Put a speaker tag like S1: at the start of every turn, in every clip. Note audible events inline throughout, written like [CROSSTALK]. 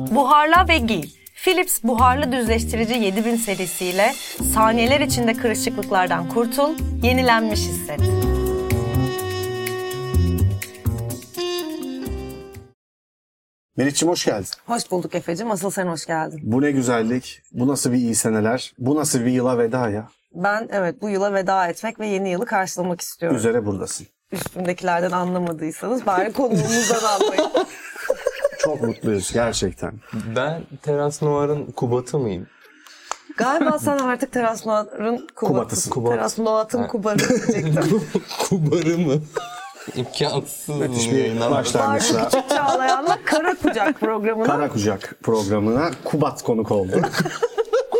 S1: Yıka ve giy. Philips buharlı düzleştirici 7000 serisiyle saniyeler içinde kırışıklıklardan kurtul, yenilenmiş hisset.
S2: Melih'ciğim hoş geldin.
S3: Hoş bulduk Efe'cim. Asıl sen hoş geldin.
S2: Bu ne güzellik, bu nasıl bir iyi seneler, bu nasıl bir yıla veda ya.
S3: Ben evet bu yıla veda etmek ve yeni yılı karşılamak
S4: [LAUGHS]
S3: istiyorum.
S2: Üzere buradasın.
S3: Üstümdekilerden anlamadıysanız bari konuğumuzdan
S4: [LAUGHS]
S3: anlayın.
S2: Çok mutluyuz gerçekten.
S4: Ben Teras Noir'ın
S2: [LAUGHS]
S4: Kubat'ı mıyım?
S3: Galiba sen artık Teras Noat'ın
S2: Kubatısın.
S3: kubatısın.
S4: Kubat.
S3: Teras Noat'ın
S4: Ha.
S3: kubarı
S4: [LAUGHS]
S3: diyecektim.
S4: Kubarı mı? İmkansız.
S2: Müthiş
S4: bu
S2: bir
S4: yayınlar.
S2: başlangıçla
S3: Çağlayan'la Kara Kucak programına.
S2: Kara Kucak programına Kubat konuk oldu.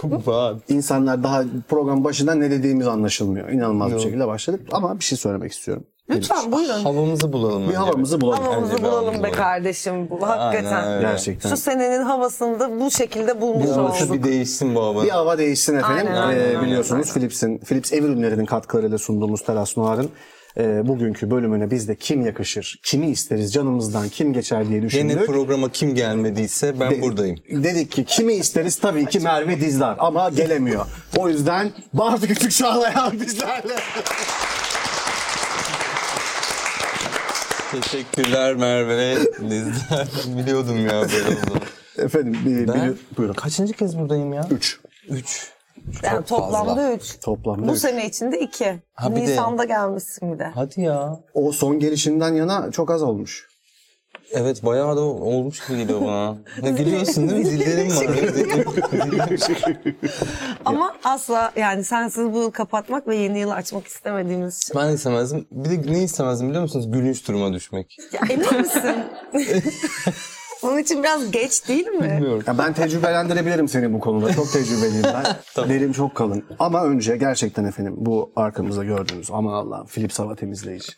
S4: Kubat.
S2: İnsanlar daha program başından ne dediğimiz anlaşılmıyor. İnanılmaz bir şekilde başladık ama bir şey söylemek istiyorum.
S3: Lütfen buyurun.
S4: Havamızı bulalım.
S2: Bir havamızı bulalım.
S3: Havamızı
S4: Bence bir
S3: bulalım
S4: havamızı
S3: be
S4: bulalım.
S3: kardeşim. Bu, hakikaten.
S4: öyle.
S2: Gerçekten.
S3: Şu senenin havasını da bu şekilde bulmuş
S4: Burası
S3: olduk.
S4: bir değişsin bu hava.
S2: Bir hava değişsin efendim.
S3: Aynen, aynen,
S2: Ee,
S3: aynen,
S2: biliyorsunuz Philips'in Philips ev ürünlerinin katkılarıyla sunduğumuz Teras Noir'ın e, bugünkü bölümüne bizde kim yakışır, kimi isteriz, canımızdan kim geçer diye düşündük.
S4: Yine programa kim gelmediyse ben buradayım.
S2: Dedik ki kimi isteriz tabii ki Merve Dizdar ama gelemiyor. O yüzden Bartu Küçük Çağlayan [LAUGHS] bizlerle.
S4: Teşekkürler Merve. Dizler. [LAUGHS] Biliyordum ya böyle olduğunu.
S2: Efendim bir,
S4: Ben
S2: bir- buyurun.
S4: kaçıncı kez buradayım ya?
S2: Üç.
S4: Üç.
S3: Yani
S4: Çok
S3: toplamda
S4: fazla.
S3: 3.
S2: Toplamda
S3: Bu
S2: üç.
S3: sene içinde 2.
S4: Ha, bir de-
S3: Nisan'da gelmişsin bir de.
S4: Hadi ya.
S2: O son gelişinden yana çok az olmuş.
S4: Evet bayağı da olmuş gibi geliyor bana. Ne gülüyorsun değil mi? Dillerim var. Dillerim
S3: Ama asla yani sensiz bu yıl kapatmak ve yeni yılı açmak istemediğimiz için.
S4: Ben istemezdim. Bir de ne istemezdim biliyor musunuz? Gülünç duruma düşmek.
S3: Ya emin
S4: [LAUGHS]
S3: misin? Bunun için biraz geç değil mi?
S4: Bilmiyorum.
S2: Ya ben tecrübelendirebilirim seni bu konuda. Çok tecrübeliyim ben. Derim çok kalın. Ama önce gerçekten efendim bu arkamızda gördüğünüz aman Allah'ım Philips hava temizleyici.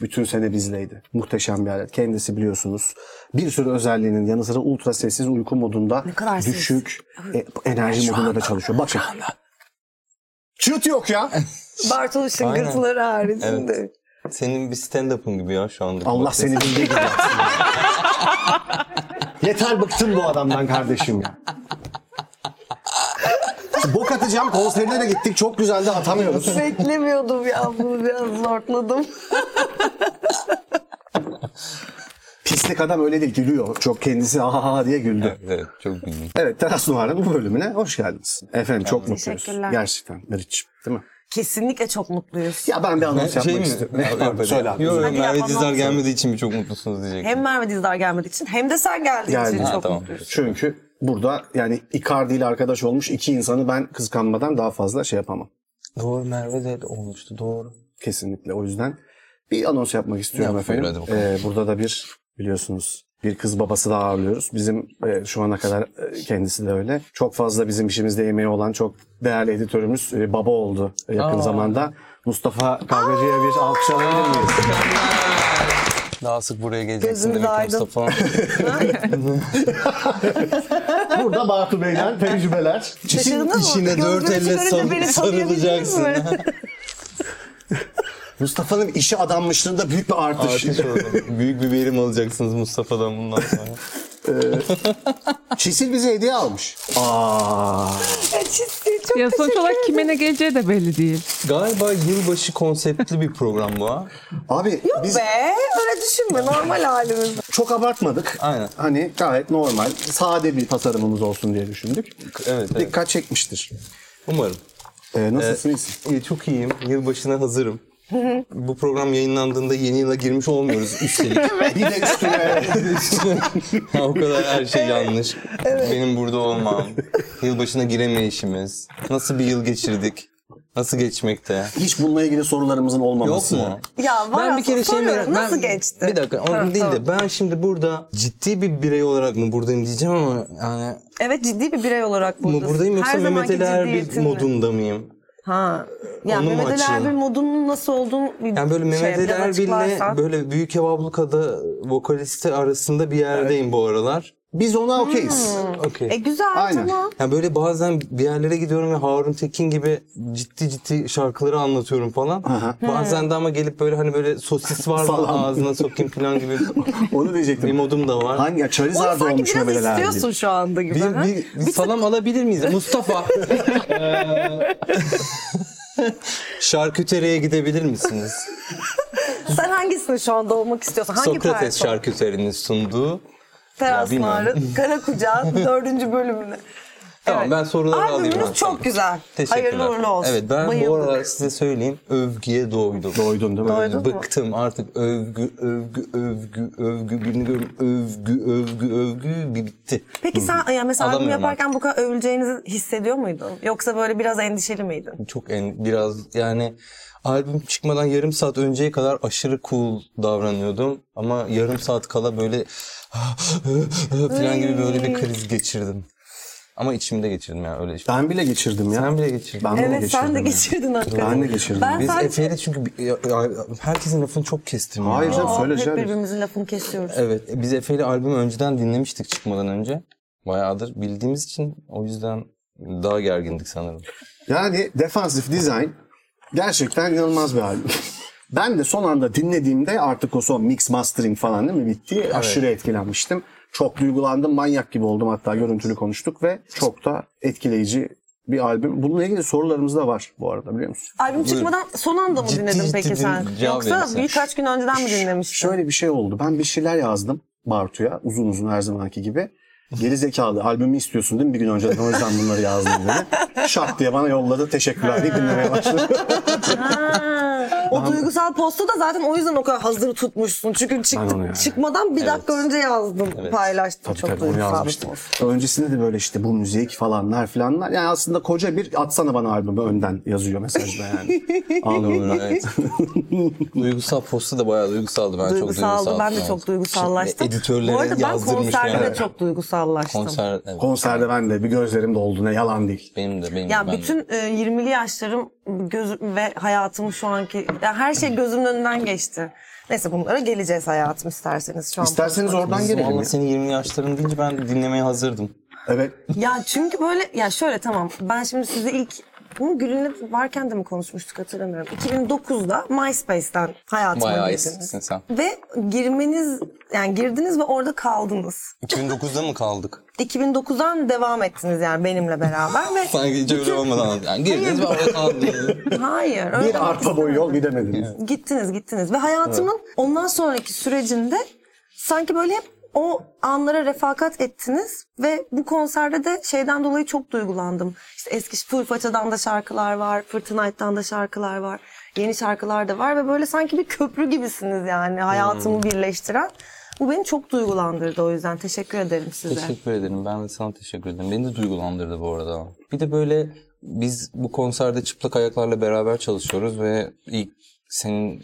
S2: Bütün sene bizdeydi. Muhteşem bir alet. Kendisi biliyorsunuz. Bir sürü özelliğinin yanı sıra ultra sessiz uyku modunda
S3: kadar ses.
S2: düşük e, enerji modunda da çalışıyor. Bakın. Çıt yok ya.
S3: Bartoluş'un
S4: Aynen.
S3: gırtları haricinde.
S4: Senin bir stand-up'ın gibi ya şu anda.
S2: Allah
S4: Bak,
S2: seni bildiği gibi yapsın. [LAUGHS] Yeter bıktım bu adamdan kardeşim ya. Şu Bok atacağım konserine de gittik çok güzeldi atamıyoruz.
S3: Beklemiyordum ya bunu biraz zorladım.
S2: Pislik adam öyle değil gülüyor çok kendisi ha ha ha diye güldü.
S4: [LAUGHS] Evet, çok güldüm.
S2: Evet Teras Nuhar'ın bu bölümüne hoş geldiniz. Efendim çok mutluyuz.
S3: Teşekkürler.
S2: Gerçekten Meriç'im değil mi?
S3: Kesinlikle çok mutluyuz.
S2: Ya ben bir anons
S4: Şey
S2: yapmak
S4: mi?
S2: istiyorum.
S4: Ha,
S2: Pardon,
S4: evet.
S2: Söyle abi.
S4: Yok
S3: Hadi
S4: Merve
S3: yapalım.
S4: Dizdar gelmediği için mi çok mutlusunuz diyecektim.
S3: Hem Merve Dizdar gelmediği için hem de sen geldiğin için
S2: Geldi.
S3: çok
S4: Ha, tamam.
S3: mutluyuz.
S2: Çünkü burada yani Icardi ile arkadaş olmuş iki insanı ben kıskanmadan daha fazla şey yapamam.
S4: Doğru Merve de olmuştu doğru.
S2: Kesinlikle. O yüzden bir anons yapmak istiyorum
S4: Yap,
S2: efendim.
S4: buyur, hadi bakalım.
S2: Ee, burada da bir biliyorsunuz bir kız babası daha ağırlıyoruz. Bizim e, şu ana kadar e, kendisi de öyle. Çok fazla bizim işimizde emeği olan çok değerli editörümüz e, baba oldu e, yakın
S4: Aa.
S2: zamanda. Mustafa Kavgacı'ya bir alkış alabilir miyiz?
S4: Daha sık buraya geleceksin
S3: Gözünüz
S4: demek ki
S3: aydın.
S4: Mustafa.
S2: Burada Batu Bey'den tecrübeler.
S3: [LAUGHS] Şaşırdın mı?
S4: İşine dört
S3: Gözünü görünce
S4: elle sarı-
S3: beni tanıyabildiniz
S4: sarılacaksın.
S3: mi? [LAUGHS]
S2: Mustafa'nın işi adanmışlığında büyük bir artış.
S4: Artış orada. Büyük bir verim alacaksınız Mustafa'dan bundan sonra.
S2: Çisil bize hediye almış. Aa.
S3: Ya ciddi, çok
S5: Ya sonuç
S3: teşekkür
S5: olarak
S3: ederim.
S5: kime ne geleceği de belli değil.
S4: Galiba yılbaşı konseptli bir program bu ha.
S2: Abi biz
S3: Be öyle düşünme normal halimiz.
S2: çok abartmadık.
S4: Aynen.
S2: Hani gayet normal, sade bir tasarımımız olsun diye düşündük.
S4: Evet, evet.
S2: Dikkat çekmiştir.
S4: Umarım.
S2: Ee, nasılsın iyisin?
S4: İyi, çok iyiyim. Yılbaşına [LAUGHS] hazırım. Bu program yayınlandığında yeni yıla girmiş olmuyoruz [LAUGHS] üstelik.
S2: Bir de üstüne
S4: [LAUGHS] Ha, o kadar her şey yanlış. Benim burada olmam. Yılbaşına giremeyişimiz. Nasıl bir yıl geçirdik? Nasıl geçmekte?
S2: hiç bununla ilgili sorularımızın
S4: Yok
S2: olmaması.
S4: mu?
S3: Ya var
S4: ben bir kere şey
S3: soruyorum,
S4: merak- ben-
S3: Nasıl geçti?
S4: Bir dakika,
S3: Ha,
S4: onun değil
S3: tamam.
S4: de ben şimdi burada ciddi bir birey olarak mı buradayım diyeceğim ama yani
S3: Evet ciddi bir birey olarak
S4: mı
S3: buradasın.
S4: buradayım yoksa
S3: Her
S4: Mehmet
S3: zamanki
S4: Ali Erbil
S3: ciddiyetinle.
S4: modunda mıyım?
S3: Ha. Ya
S4: Onu mu
S3: Mehmet Ali
S4: açayım?
S3: Erbil modunun nasıl olduğunu bir
S4: Yani böyle Mehmet
S3: şey,
S4: Ali
S3: biraz
S4: Erbil'le
S3: açıklarsan.
S4: böyle Büyük Ev Abluka'da vokalisti arasında bir yerdeyim bu aralar.
S2: Biz ona okeyiz.
S4: Okey.
S3: E güzel
S2: Aynen.
S3: tamam.
S4: Ya böyle bazen bir yerlere gidiyorum ve Harun Tekin gibi ciddi ciddi şarkıları anlatıyorum falan.
S3: Hmm.
S4: Bazen de ama gelip böyle hani böyle sosis var mı
S2: Falan.
S4: ağzına sokayım falan
S2: [LAUGHS]
S4: gibi
S2: Onu
S4: bir
S2: diyecektim.
S4: modum da var.
S2: Hangi?
S3: Onu
S2: Charizard
S3: sanki
S2: olmuş
S3: biraz
S2: memeler diye.
S3: istiyorsun şu anda gibi.
S4: Bir,
S3: ha?
S4: bir, bir salam alabilir miyiz? Mustafa.
S3: [LAUGHS]
S4: Ee, Eee, [LAUGHS] Şarküteriye gidebilir misiniz?
S3: Sen hangisini şu anda olmak istiyorsun? Hangi
S4: Sokrates
S3: perform-
S4: şarküterinin sunduğu. Ya
S3: Terasların
S4: bilmiyorum.
S3: Kara
S4: [LAUGHS]
S3: Kucağın dördüncü bölümünü.
S4: Tamam
S3: Evet.
S4: ben soruları alayım. ben
S3: Albümünüz
S4: sonra.
S3: çok güzel.
S4: Teşekkürler.
S3: Hayırlı uğurlu olsun.
S4: Evet ben
S3: Bayıldık.
S4: bu aralar size söyleyeyim övgüye doydum.
S2: Doydun değil mi?
S3: Doydun. mu?
S4: Bıktım artık övgü övgü övgü övgü birini görüyorum övgü övgü övgü bir bitti.
S3: Peki sen yani mesela albüm
S4: Alamıyorum
S3: yaparken bu kadar övüleceğinizi hissediyor muydun? Yoksa böyle biraz endişeli miydin?
S4: Çok en biraz yani albüm çıkmadan yarım saat önceye kadar aşırı cool davranıyordum ama yarım saat kala böyle ah, falan gibi böyle bir kriz geçirdim. Ama içimde geçirdim yani öyle.
S2: Ben bile geçirdim ya.
S4: Sen bile geçirdin.
S2: Ben bile
S3: Evet sen
S2: geçirdim
S3: de
S2: ya.
S3: geçirdin hakikaten.
S2: Ben de geçirdim.
S3: Ben
S4: Biz
S3: sadece
S4: Efe'yle çünkü bi- ya- ya- herkesin lafını çok kestim. ya.
S2: Hayır canım
S3: Aa,
S2: söyle
S3: hep
S2: canım.
S3: birbirimizin lafını kesiyoruz.
S4: Evet. e, Biz Efe'yle albümü önceden dinlemiştik çıkmadan önce. Bayağıdır bildiğimiz için o yüzden daha gergindik sanırım.
S2: Yani Defensive Design gerçekten inanılmaz bir albüm. [LAUGHS] ben de son anda dinlediğimde artık o son mix mastering falan değil mi bitti. Aşırı etkilenmiştim. Çok duygulandım, manyak gibi oldum hatta görüntülü konuştuk ve çok da etkileyici bir albüm. Bununla ilgili sorularımız da var bu arada biliyor musun?
S3: Albüm çıkmadan son anda mı
S4: Ciddi
S3: dinledin
S4: ciddi
S3: peki
S4: din-
S3: sen?
S4: cevap
S3: Yoksa
S4: verirsen.
S3: birkaç gün önceden mi dinlemiştin?
S2: Şöyle bir şey oldu. Ben bir şeyler yazdım Bartu'ya uzun uzun her zamanki gibi. Geri zekalı albümü istiyorsun değil mi bir gün önceden o yüzden bunları yazdım dedi. Şak diye bana yolladı teşekkürler deyip dinlemeye başladım.
S3: O duygusal postu da zaten o yüzden o kadar hazır tutmuşsun. Çünkü çık-
S2: Ben onu yani.
S3: çıkmadan bir dakika önce yazdım, paylaştım.
S2: Tabii
S3: Çok
S2: tabii onu
S3: duygusal bir
S2: yazmıştım.
S3: post.
S2: Öncesinde de böyle işte bu müzik falanlar filanlar. Yani aslında koca bir atsana bana albümü önden yazıyor mesajda [LAUGHS] yani. Anlıyorum.
S4: Evet. duygusal postu da bayağı duygusaldı. Ben çok
S3: Duygusaldı.
S4: duygusaldım.
S3: Ben de
S4: evet.
S3: çok duygusallaştım.
S4: Şimdi editörlere
S3: Bu arada ben
S4: yazdırmış
S3: konserde
S4: yani.
S3: çok duygusallaştım.
S4: Konser, evet.
S2: Konserde ben de bir gözlerim doldu ne yalan değil.
S4: Benim de benim
S3: Ya
S4: de. ben de.
S3: bütün e, 20'li yaşlarım gözüm ve hayatım şu anki ya her şey gözümün önünden geçti. Neyse bunlara geleceğiz hayatım isterseniz şu an.
S2: İsterseniz oradan
S4: Kızım,
S2: girelim.
S4: Valla
S2: ya.
S4: senin 20 yaşların deyince ben dinlemeye hazırdım.
S2: Evet.
S3: Ya çünkü böyle ya şöyle tamam ben şimdi size ilk bunu Gül'ünle varken de mi konuşmuştuk hatırlamıyorum. 2009'da MySpace'den hayatıma
S4: Bayağı
S3: girdiniz.
S4: eskisin sen.
S3: Ve girmeniz yani girdiniz ve orada kaldınız.
S4: 2009'da mı kaldık?
S3: 2009'dan devam ettiniz yani benimle beraber ve
S4: [LAUGHS] Sanki hiç öyle olmadan anladım. Yani girdiniz ve orada kaldınız.
S3: [LAUGHS] hayır öyle
S2: Bir arpa boyu yol gidemediniz.
S3: Gittiniz gittiniz ve hayatımın ondan sonraki sürecinde sanki böyle hep o anlara refakat ettiniz ve bu konserde de şeyden dolayı çok duygulandım. İşte eski Full Faça'dan da şarkılar var, Fırtınayt'tan da şarkılar var, yeni şarkılar da var ve böyle sanki bir köprü gibisiniz yani
S4: Hmm.
S3: hayatımı birleştiren. Bu beni çok duygulandırdı o yüzden teşekkür ederim size.
S4: Teşekkür ederim. Ben de sana teşekkür ederim. Beni de duygulandırdı bu arada. Bir de böyle biz bu konserde çıplak ayaklarla beraber çalışıyoruz ve ilk senin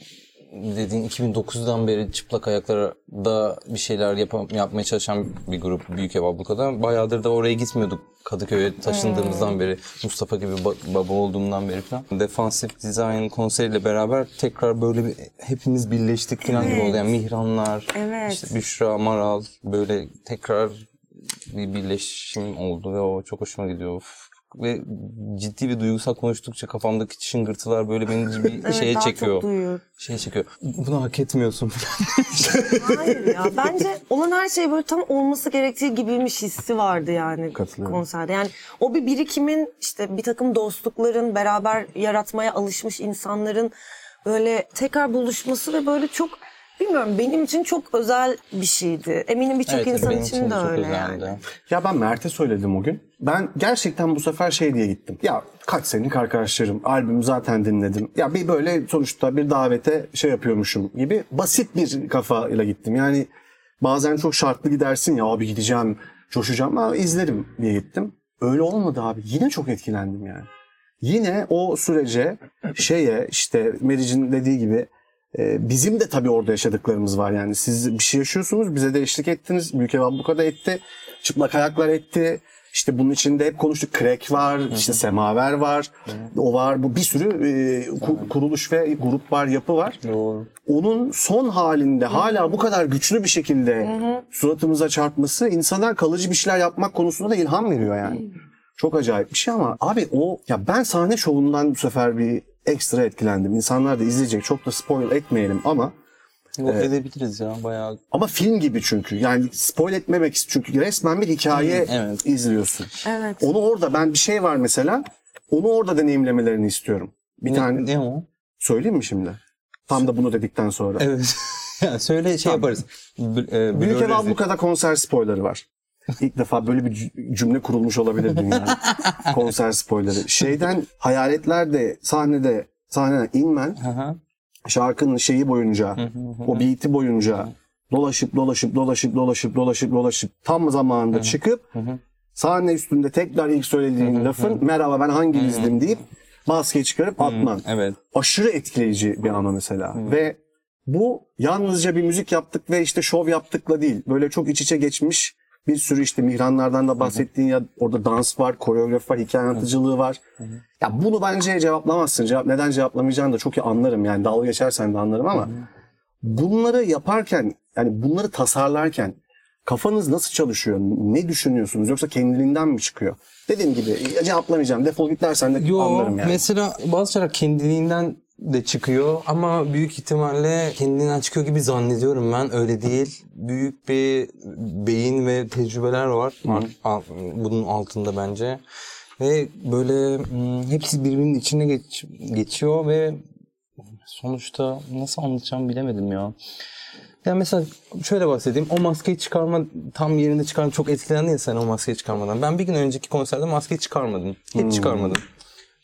S4: dediğin 2009'dan beri çıplak ayaklarda bir şeyler yapa- yapmaya çalışan bir grup Büyük Ev Abluka'da. Bayağıdır da oraya gitmiyorduk Kadıköy'e taşındığımızdan
S3: Hmm.
S4: beri, Mustafa gibi ba- baba olduğumdan beri falan. Defansif Design konseriyle beraber tekrar böyle bir, hepimiz birleştik falan gibi oldu. Yani Mihranlar,
S3: Evet.
S4: işte Büşra, Maral böyle tekrar bir birleşim oldu ve o çok hoşuma gidiyor. Uf. Ve ciddi bir duygusal konuştukça kafamdaki şıngırtılar
S3: [LAUGHS]
S4: böyle beni bir
S3: Evet,
S4: şeye
S3: daha çok
S4: çekiyor.
S3: duyuyor.
S4: Şeye çekiyor. Bunu hak etmiyorsun.
S3: Hayır ya bence olan her şey böyle tam olması gerektiği gibiymiş hissi vardı yani
S2: Katılıyorum.
S3: konserde. Yani o bir birikimin işte bir takım dostlukların beraber yaratmaya alışmış insanların böyle tekrar buluşması ve böyle çok bilmiyorum benim için çok özel bir şeydi. Eminim birçok
S4: Evet,
S3: insan
S4: benim
S3: için de
S4: çok
S3: öyle
S4: özeldi.
S3: yani.
S2: Ya ben Mert'e söyledim o gün. Ben gerçekten bu sefer şey diye gittim. Ya kaç senelik arkadaşlarım, albümü zaten dinledim. Ya bir böyle sonuçta bir davete şey yapıyormuşum gibi basit bir kafayla gittim. Yani bazen çok şartlı gidersin ya abi gideceğim, coşacağım ama izlerim diye gittim. Öyle olmadı abi. Yine çok etkilendim yani. Yine o sürece şeye işte Meriç'in dediği gibi ee, bizim de tabii orada yaşadıklarımız var yani. Siz bir şey yaşıyorsunuz, bize de eşlik ettiniz. Büyük Ev Abluka da etti. Çıplak Ayaklar etti. İşte bunun içinde hep konuştuk. Krek var, işte Semaver var, o var. Bu bir sürü e, ku- kuruluş ve grup var, yapı var.
S4: Doğru.
S2: Onun son halinde hala bu kadar güçlü bir şekilde suratımıza çarpması insana kalıcı bir şeyler yapmak konusunda da ilham veriyor yani. Çok acayip bir şey ama abi o ya ben sahne şovundan bu sefer bir ekstra etkilendim. İnsanlar da izleyecek. Çok da spoil etmeyelim ama
S4: Yok edebiliriz ya bayağı.
S2: ama film gibi çünkü. Yani spoil etmemek ist- çünkü resmen bir hikaye
S4: Hmm, evet.
S2: izliyorsun.
S3: Evet.
S2: Onu orada ben bir şey var mesela. Onu orada deneyimlemelerini istiyorum. Bir
S4: ne,
S2: tane
S4: ne o?
S2: söyleyeyim mi şimdi? Tam da bunu dedikten sonra.
S4: Evet. [LAUGHS] yani söyle şey yaparız. B- e,
S2: Büyük Ev
S4: blurleriz.
S2: Abluka'da konser spoilerı var. İlk defa böyle bir cü- cümle kurulmuş olabilir
S4: [LAUGHS]
S2: dünyada. konser spoilerı. Şeyden hayaletler de sahnede sahneden inmen
S4: Hı hı.
S2: şarkının şeyi boyunca o beat'i boyunca dolaşıp dolaşıp dolaşıp dolaşıp dolaşıp dolaşıp tam zamanında çıkıp sahne üstünde tekrar ilk söylediğin lafın merhaba ben hanginizdim deyip maskeyi çıkarıp atman
S4: Evet.
S2: aşırı etkileyici bir anı mesela. Ve bu yalnızca bir müzik yaptık ve işte şov yaptıkla değil. Böyle çok iç içe geçmiş bir sürü işte mihranlardan da bahsettiğin ya orada dans var, koreograf var, hikaye anlatıcılığı var. Ya bunu bence cevaplamazsın. Cevap neden cevaplamayacağını da çok iyi anlarım. Yani dalga geçersen de anlarım ama bunları yaparken yani bunları tasarlarken kafanız nasıl çalışıyor? Ne düşünüyorsunuz? Yoksa kendiliğinden mi çıkıyor? Dediğim gibi ya cevaplamayacağım. Defol git dersen de
S4: Yo
S2: anlarım yani.
S4: mesela bazı şeyler kendiliğinden de çıkıyor ama büyük ihtimalle kendinden çıkıyor gibi zannediyorum ben. Öyle değil. Büyük bir beyin ve tecrübeler var Ar- al- bunun altında bence. Ve böyle hmm, hepsi birbirinin içine geç- geçiyor ve sonuçta nasıl anlatacağımı bilemedim ya. Yani mesela şöyle bahsedeyim. O maskeyi çıkarma tam yerinde çıkarma çok etkilendin ya sen o maskeyi çıkarmadan. Ben bir gün önceki konserde maskeyi çıkarmadım. Hiç çıkarmadım.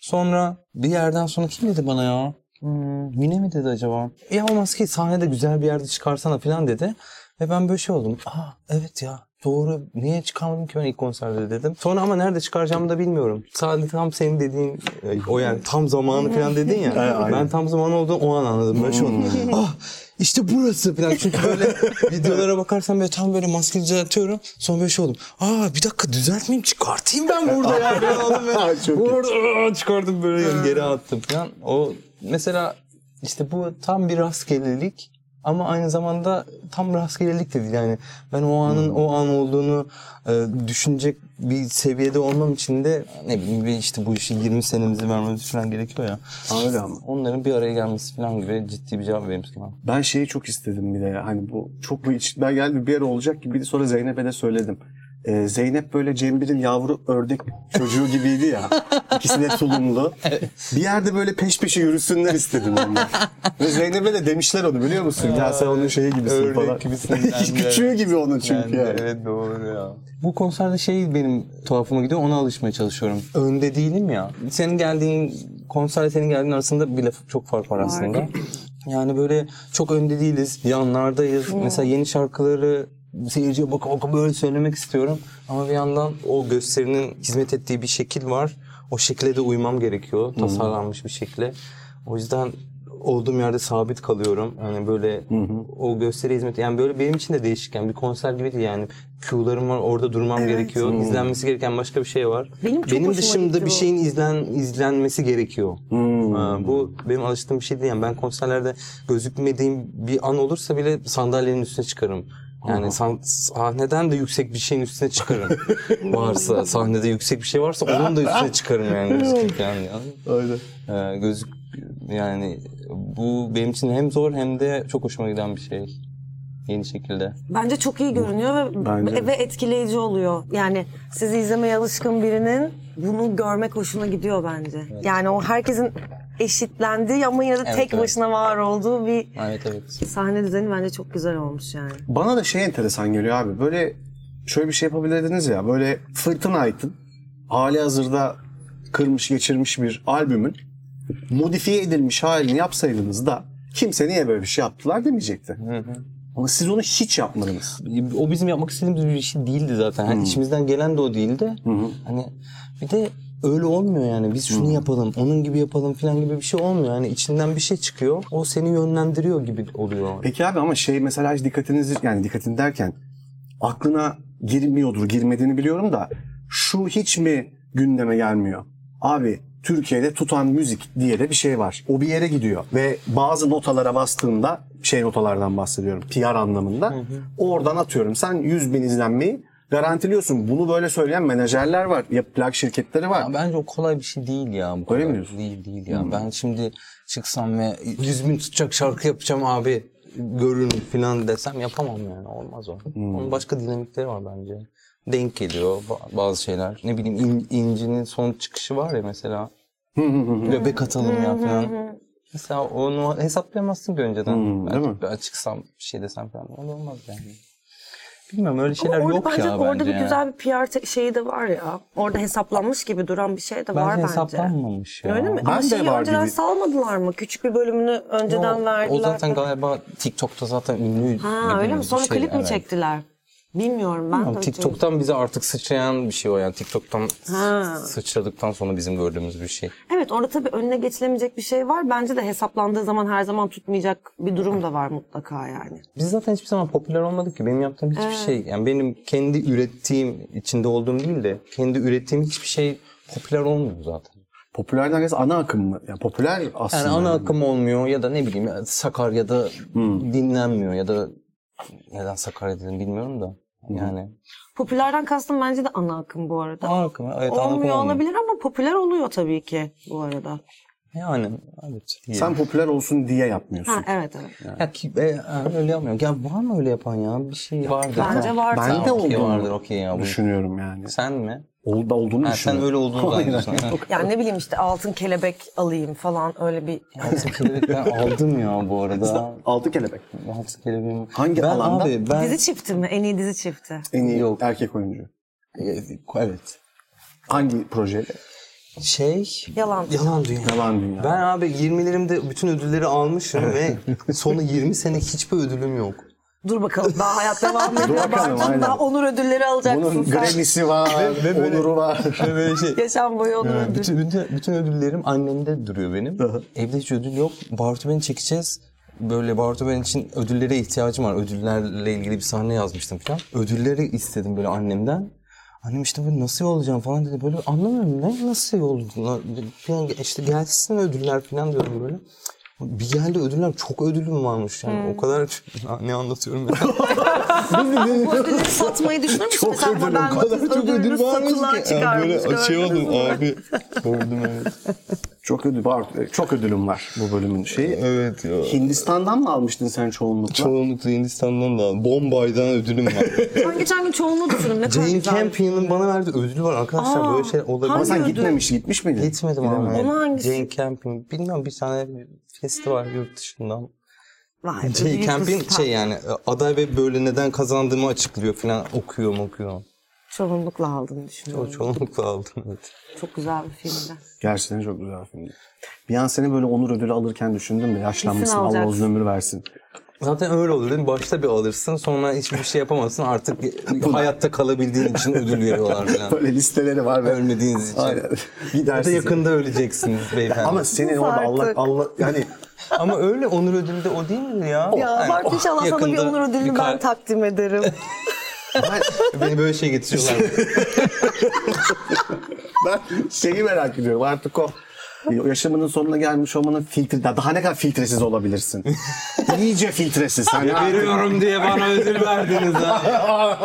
S4: Sonra bir yerden sonra kim dedi bana ya? Hmm, Mine mi dedi acaba? Ya o maskeyi sahnede güzel bir yerde çıkarsana falan dedi. Ve ben böyle şey oldum. Aa evet ya doğru niye çıkarmadım ki ben ilk konserde dedim. Sonra ama nerede çıkaracağımı da bilmiyorum. Sadece tam senin dediğin e, o yani tam zamanı falan dedin ya. ben tam zaman olduğunu o an anladım. Böyle şey oldum. ah işte burası falan. Çünkü
S2: [LAUGHS]
S4: böyle videolara bakarsan böyle tam böyle maske düzeltiyorum. Sonra böyle şey oldum. Aa bir dakika düzeltmeyeyim çıkartayım ben
S2: [LAUGHS]
S4: burada ya. Ben oldum böyle.
S2: Çok iyi.
S4: Orada çıkardım böyle geri attım falan. O mesela işte bu tam bir rastgelelik ama aynı zamanda tam rastgelelik de değil. Yani ben o
S2: Hmm.
S4: anın o an olduğunu e, düşünecek bir seviyede olmam için de ne bileyim bir işte bu işi 20 senemizi vermemiz falan gerekiyor ya.
S2: Öyle ama.
S4: Onların bir araya gelmesi falan gibi ciddi bir cevap vereyim sana.
S2: Ben şeyi çok istedim bir de ya, hani bu çok bu içimden geldi bir yer olacak gibi sonra Zeynep'e de söyledim. Ee, Zeynep böyle Cembir'in yavru ördek çocuğu gibiydi
S4: [LAUGHS]
S2: ya. İkisi de tulumlu. Bir yerde böyle peş peşe yürüsünler istedim onlar. Ve Zeynep'e de demişler onu biliyor musun? ya sen onun şeyi gibisin
S4: Ördek
S2: falan. [LAUGHS]
S4: gibisin, ben de.
S2: Küçüğü gibi onun çünkü yani.
S4: evet doğru ya. Bu konserde şey benim tuhafıma gidiyor ona alışmaya çalışıyorum. Önde değilim ya. Senin geldiğin konserle senin geldiğin arasında bile çok fark var aslında. Yani böyle çok önde değiliz. Yanlardayız.
S3: Hmm.
S4: Mesela yeni şarkıları seyirciye baka baka böyle söylemek istiyorum. Ama bir yandan o gösterinin hizmet ettiği bir şekil var. O şekle de uymam gerekiyor.
S3: Hmm.
S4: Tasarlanmış bir şekle. O yüzden olduğum yerde sabit kalıyorum. Hani böyle
S3: Hmm.
S4: o gösteri hizmeti yani böyle benim için de değişik yani bir konser gibi değil yani Q'larım var orada durmam gerekiyor. İzlenmesi gereken başka bir şey var.
S3: Hmm. Benim çok hoşuma
S4: dışımda
S3: gitti
S4: bir
S3: bu.
S4: şeyin izlen izlenmesi gerekiyor. Ee, bu benim alıştığım bir şey değil yani ben konserlerde gözükmediğim bir an olursa bile sandalyenin üstüne çıkarım. Yani san- sahneden de yüksek bir şeyin üstüne [LAUGHS] çıkarım. varsa sahnede yüksek bir şey varsa onun da üstüne çıkarım yani gözükürken. Yani.
S2: Öyle.
S4: Ee, gözük yani bu benim için hem zor hem de çok hoşuma giden bir şey. Yeni şekilde.
S3: Bence çok iyi görünüyor ve
S2: Bence de.
S3: ve etkileyici oluyor. Yani sizi izlemeye alışkın birinin bunu görmek hoşuna gidiyor bence. Yani o herkesin eşitlendiği ama yine de
S4: Evet,
S3: tek
S4: evet.
S3: başına var olduğu bir
S4: Evet evet.
S3: sahne düzeni bence çok güzel olmuş yani.
S2: Bana da şey enteresan geliyor abi. Böyle şöyle bir şey yapabilirdiniz ya. Böyle fırtınaydın. Hali hazırda kırmış geçirmiş bir albümün modifiye edilmiş halini yapsaydınız da kimse niye böyle bir şey yaptılar demeyecekti. Ama siz onu hiç yapmadınız.
S4: O bizim yapmak istediğimiz bir şey değildi zaten. Yani içimizden gelen de o değildi. Hani bir de öyle olmuyor yani. Biz şunu yapalım, onun gibi yapalım falan gibi bir şey olmuyor. Yani içinden bir şey çıkıyor. O seni yönlendiriyor gibi oluyor.
S2: Peki abi ama şey mesela hiç dikkatinizi yani dikkatini derken aklına girmiyordur girmediğini biliyorum da şu hiç mi gündeme gelmiyor? Abi Türkiye'de tutan müzik diye de bir şey var. O bir yere gidiyor ve bazı notalara bastığında şey notalardan bahsediyorum PR anlamında. Oradan atıyorum sen 100 bin izlenmeyi garantiliyorsun. Bunu böyle söyleyen menajerler var. Ya plak şirketleri var.
S4: Ya bence o kolay bir şey değil ya. Bu
S2: Öyle
S4: kadar.
S2: mi diyorsun? Hmm.
S4: Değil değil ya. Ben şimdi çıksam ve 100 bin tutacak şarkı yapacağım abi görün filan desem yapamam yani. Olmaz o.
S2: Hmm.
S4: Onun başka dinamikleri var bence. Denk geliyor ba- bazı şeyler. Ne bileyim in, İnci'nin son çıkışı var
S2: [LAUGHS]
S4: ya mesela. Göbek atalım ya filan. Mesela onu hesaplayamazsın ki önceden.
S2: Hmm, değil mi?
S4: Ben çıksam bir şey desem falan. O da olmaz yani. Bilmiyorum öyle
S3: Ama
S4: şeyler
S3: orada
S4: yok
S3: bence,
S4: ya
S3: orada
S4: bence.
S3: bir
S4: ya.
S3: güzel bir şey PR te- şeyi de var ya. Orada hesaplanmış gibi duran bir şey de var
S4: Bence
S3: bence.
S4: hesaplanmamış ya.
S3: Öyle mi?
S2: Ben
S3: Ama
S2: de
S3: şeyi
S2: var
S3: önceden
S2: gibi.
S3: salmadılar mı? Küçük bir bölümünü önceden
S4: O-
S3: verdiler.
S4: O zaten galiba TikTok'ta zaten ünlü. şey,
S3: Ha öyle mi? Sonra klip mi çektiler? Bilmiyorum ben. de-
S4: TikTok'tan bize artık sıçrayan bir şey o yani. TikTok'tan s-
S3: Ha.
S4: sıçradıktan sonra bizim gördüğümüz bir şey.
S3: Evet orada tabii önüne geçilemeyecek bir şey var. Bence de hesaplandığı zaman her zaman tutmayacak bir durum da var mutlaka yani.
S4: Biz zaten hiçbir zaman popüler olmadık ki. Benim yaptığım hiçbir şey. Yani benim kendi ürettiğim, içinde olduğum değil de kendi ürettiğim hiçbir şey popüler olmuyor zaten.
S2: Popüler neredeyse ana akım mı? Ya popüler aslında.
S4: Yani ana akım olmuyor ya da ne bileyim Sakarya'da dinlenmiyor ya da neden Sakarya dedim bilmiyorum da. Yani
S3: Popülerden kastım bence de ana akım bu arada.
S4: ana akım evet ana akım
S3: olmuyor
S4: olmuyor.
S3: olabilir ama popüler oluyor tabii ki bu arada.
S4: Yani evet. diyelim.
S2: Sen popüler olsun diye yapmıyorsun.
S3: Ha evet evet.
S4: Ya ki, e, e, öyle yapmıyor. Ya var mı öyle yapan ya? Bir şey vardır.
S3: Bence var.
S2: Ben de
S4: okey
S2: olduğunu
S4: vardır, okey ya bu.
S2: düşünüyorum yani.
S4: Sen mi?
S2: Ol, da olduğunu
S4: Ha, sen
S2: düşünüyorum.
S4: öyle olduğunu
S2: Hayır,
S4: zannediyorsun.
S2: hayır.
S4: Ha.
S3: Yani ne bileyim işte altın kelebek alayım falan öyle bir
S4: Altı kelebek ben aldım ya bu arada.
S2: Altı kelebek.
S4: Altı kelebeğim.
S2: Hangi
S4: ben
S2: alanda?
S4: Abi, ben...
S3: dizi çifti mi? En iyi dizi çifti.
S2: En iyi
S4: Yok.
S2: erkek oyuncu.
S4: E, Evet.
S2: Hangi projeyle?
S4: Şey...
S3: Yalan.
S4: Yalan dünya.
S2: Yalan Dünya.
S4: Ben abi 20'lerimde bütün ödülleri almışım ve [LAUGHS] sonra 20 sene hiçbir ödülüm yok.
S3: Dur bakalım daha hayat devam ediyor.
S2: bakalım,
S3: Daha-
S2: aynen.
S3: Daha onur ödülleri alacaksın
S2: Bunun
S3: sen.
S2: Grammy'si var,
S4: Ve- ve böyle-
S2: onuru var.
S4: Ve böyle şey...
S3: Yaşam boyu onur ödülü.
S4: bütün, bütün, bütün ödüllerim annemde duruyor benim. Evde hiç ödül yok. Bartu beni çekeceğiz. Böyle Bartu ben için ödüllere ihtiyacım var. Ödüllerle ilgili bir sahne yazmıştım falan. Ödülleri istedim böyle annemden. Annem işte böyle nasıl yollayacağım falan dedi. Böyle anlamıyorum ne nasıl yollar falan işte gelsin ödüller falan diyorum böyle. Bir geldi ödüller çok ödülüm varmış yani. O kadar [LAUGHS] ne anlatıyorum ben.
S3: Bu ödülleri satmayı düşünür müsün?
S4: Çok
S3: Mesela
S4: ödül, o
S3: modern
S4: kadar
S3: bakız
S4: çok ödül
S3: ödülünü
S4: varmış
S3: satılığa
S4: ki. Ya
S3: çıkarmış.
S4: böyle şey
S3: gördünüz mü?
S4: oldum abi. Gördüm evet.
S2: Çok ödül var. Çok ödülüm var bu bölümün şeyi.
S4: Evet ya.
S2: Hindistan'dan mı almıştın sen çoğunlukla?
S4: Çoğunlukla Hindistan'dan da Bombay'dan ödülüm var.
S3: Ben geçen gün çoğunluğu düşündüm. Ne kadar
S4: [LAUGHS] Jane
S3: güzel.
S4: Campion'ın bana verdiği ödül var arkadaşlar.
S3: Aa,
S4: böyle şey
S2: Ama
S4: olabilir.
S2: sen
S3: ödül?
S2: gitmemiş, gitmiş miydin?
S4: Gitmedim
S2: Gidemedin.
S4: ama.
S3: Ona hangisi?
S4: Jane Campion. Bilmiyorum bir tane bir festival yurt dışından.
S3: Vay,
S4: Jane
S3: ödülü
S4: Campion
S3: kız-
S4: şey yani aday ve böyle neden kazandığımı açıklıyor falan. Okuyor mu okuyor.
S3: Çoğunlukla aldığını düşünüyorum.
S4: O çoğunlukla aldım. Evet.
S3: Çok güzel bir filmdi.
S2: Gerçekten çok güzel filmdi. Bir an seni böyle onur ödülü alırken düşündün mü? Yaşlanmışsın,
S3: Kesin
S2: Allah
S3: alacaksın.
S2: uzun ömür versin.
S4: Zaten öyle olur değil mi? Başta bir alırsın sonra hiçbir şey yapamazsın. Artık [LAUGHS] hayatta kalabildiğin için ödül veriyorlar falan.
S2: Böyle listeleri var. ve-
S4: Ölmediğiniz için.
S2: Aynen. [LAUGHS]
S4: Ya da
S2: Gidersin.
S4: yakında öleceksiniz beyefendi.
S2: Ama seni orada Allah,
S3: artık.
S2: Allah, yani
S4: Ama öyle onur ödülü de o değil mi ya?
S3: Ya
S4: Yani,
S3: bak
S4: oh,
S3: inşallah sana bir
S4: yakında
S3: onur ödülünü
S4: bir
S3: ben
S4: kar-
S3: takdim ederim.
S4: Beni böyle şey getiriyorlar. [LAUGHS]
S2: ben şeyi merak ediyorum artık o yaşamının sonuna gelmiş olmanın filtre daha, daha ne kadar filtresiz olabilirsin. İyice filtresiz. Sen artık
S4: Veriyorum diye bana ödül verdiniz ha.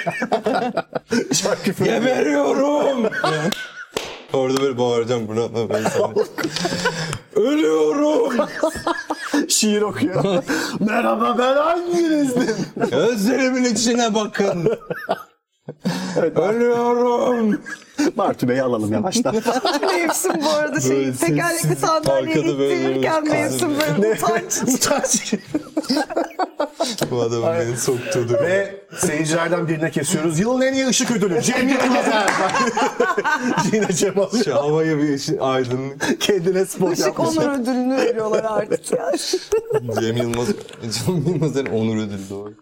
S4: [LAUGHS]
S2: şarkı falan-
S4: Ya veriyorum. Orada böyle bağıracağım buna. Ben sana. [LAUGHS] Ölüyorum.
S2: şiir okuyor. Merhaba ben hanginizdim?
S4: Gözlerimin içine bakın. Ölüyorum.
S2: Bartu Bey'i alalım yavaştan.
S3: mevsim bu arada şey
S4: Böyle
S3: tekerlekli
S4: sessiz,
S3: sandalyeyi
S4: arkada böyle
S3: ittirirken
S4: böyle
S3: mevsim böyle utanç.
S2: Utanç.
S4: Bu adam beni soktu.
S2: Ve seyircilerden birine kesiyoruz. Yılın en iyi ışık ödülü Cem Yılmaz Erdoğan. Yine Cem alıyor.
S4: Şu havaya bir ışı- aydınlık.
S2: Kendine spot
S3: Işık
S2: yapmış.
S3: onur ödülünü veriyorlar artık ya.
S4: Cem Yılmaz. Cem Yılmaz'ın onur ödülü doğru.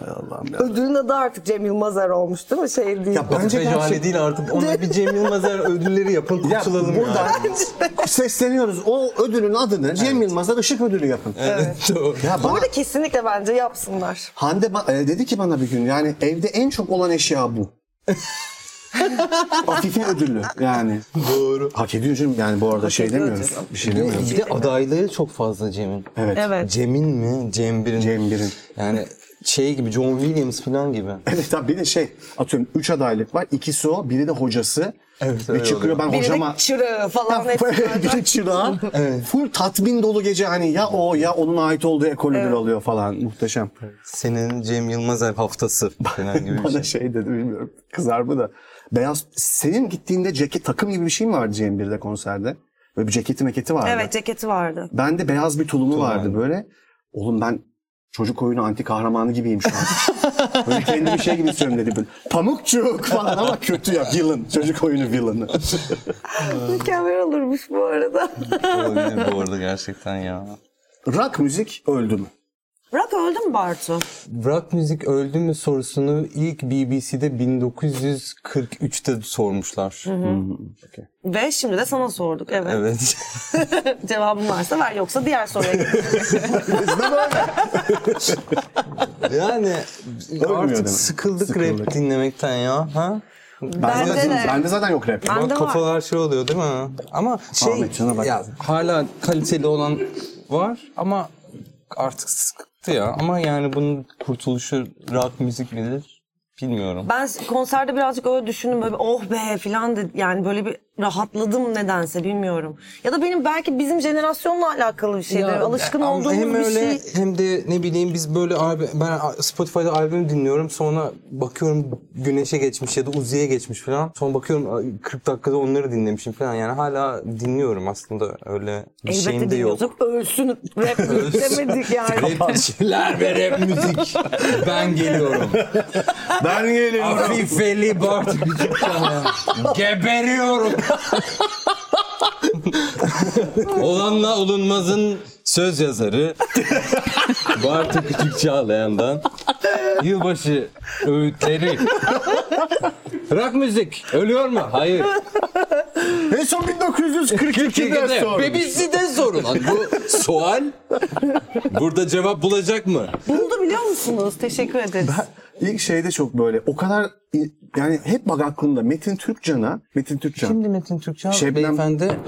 S2: Hay Allah'ım ya.
S3: Ödülün adı artık Cem Yılmazer olmuş değil mi? Şey değil.
S2: Ya
S4: Bence
S2: bence
S4: Fecale
S2: gerçek.
S4: değil artık. Ona bir Cem Yılmazer ödülleri yapın
S2: Ya
S4: kurtulalım ya.
S2: buradan sesleniyoruz. O ödülün adını Cem Yılmaz'a ışık ödülü yapın.
S4: Evet. doğru.
S2: Ya
S3: Bu
S2: bana
S3: arada kesinlikle bence yapsınlar.
S4: [LAUGHS]
S2: Hande ba- e, dedi ki bana bir gün yani evde en çok olan eşya bu. Afife ödüllü yani. Doğru. Hak ediyor canım yani bu arada şey
S3: ediyor
S2: demiyoruz.
S3: canım.
S2: Bir şey demiyoruz.
S4: Bir de adayları çok fazla Cem'in.
S2: Evet.
S3: Evet.
S4: Cem'in mi? Cem Bir'in.
S2: Cem Bir'in.
S4: Yani şey gibi John Williams falan gibi.
S2: Evet tabii bir de şey atıyorum 3 adaylık var. İkisi o, biri de hocası.
S4: Evet,
S2: Ve
S4: öyle
S2: çıkıyor
S4: oluyor.
S2: ben
S3: Biri
S2: hocama
S3: de
S2: [LAUGHS]
S3: çırığı falan hepsi böyle.
S2: bir çırağı. Full tatmin dolu gece hani ya o ya onun ait olduğu ekolüdür oluyor falan. Muhteşem.
S4: Senin Cem Yılmaz Alp haftası falan gibi bir
S2: Bana
S4: şey.
S2: şey dedi bilmiyorum. Kızar mı da. Beyaz senin gittiğinde ceket takım gibi bir şey mi vardı Cem 1'de konserde? Böyle bir ceketi meketi vardı.
S3: Evet ceketi vardı.
S2: Bende beyaz bir tulumu vardı böyle. Oğlum ben çocuk oyunu anti kahramanı gibiyim şu
S4: [LAUGHS]
S2: an. böyle kendimi şey gibi istiyorum dedi. Böyle, Pamukçuk falan ama kötü ya. Villain. Çocuk oyunu villainı.
S3: Mükemmel olurmuş bu arada.
S4: Olabilir bu arada gerçekten ya.
S2: Rock müzik öldü
S3: [LAUGHS]
S2: mü?
S3: Rock öldü mü Bartu?
S4: Rock müzik öldü mü sorusunu ilk BBC'de 1943'te sormuşlar.
S3: Ve şimdi de sana sorduk. Evet.
S4: Evet.
S2: [LAUGHS]
S3: Cevabın varsa ver yoksa diğer soruya
S4: [LAUGHS]
S3: geçelim.
S4: yani artık
S2: demek.
S4: sıkıldık,
S2: Sıkıldık.
S4: rap dinlemekten ya. Ha?
S2: Ben
S3: Bende
S2: zaten,
S3: de.
S2: bende zaten yok rap.
S3: Ben-
S4: Bak
S3: Bende var.
S4: kafalar şey oluyor değil mi? Ama şey
S2: Ahmetcan'a bak.
S4: ya hala kaliteli olan var ama artık sıktı ya. Ama yani bunun kurtuluşu rock müzik midir bilmiyorum.
S3: ben konserde birazcık öyle düşündüm. Böyle bir oh be falan dedi. Yani böyle bir rahatladım nedense bilmiyorum. Ya da benim belki bizim jenerasyonla alakalı bir şeydir.
S4: Ya,
S3: Alışkın
S4: ama
S3: olduğumuz
S4: hem
S3: bir
S4: öyle,
S3: şey.
S4: Hem de ne bileyim biz böyle albüm, ben Spotify'da albüm dinliyorum sonra bakıyorum Güneş'e geçmiş ya da Uzi'ye geçmiş falan. Sonra bakıyorum ay, 40 dakikada onları dinlemişim falan. Yani hala dinliyorum aslında öyle bir şeyim
S3: Elbette
S4: de yok.
S3: dinliyorsak ölsün
S4: [LAUGHS]
S3: rap demedik yani.
S4: Rapçiler ve rap müzik. Ben geliyorum.
S2: Ben geliyorum.
S4: Afifeli Bart. Geberiyorum. Olanla olunmazın söz yazarı Bartu Küçük Çağlayan'dan yılbaşı öğütleri. Rock müzik ölüyor mu? Hayır.
S2: En son 1942'de sordum.
S4: Ve bizi de sorun. Lan bu sual burada cevap bulacak mı?
S3: Buldu biliyor musunuz? Teşekkür ederiz.
S2: İlk şeyde çok böyle o kadar yani hep bak aklımda Metin Türkcan'a Metin Türkcan.
S4: Metin Türkçe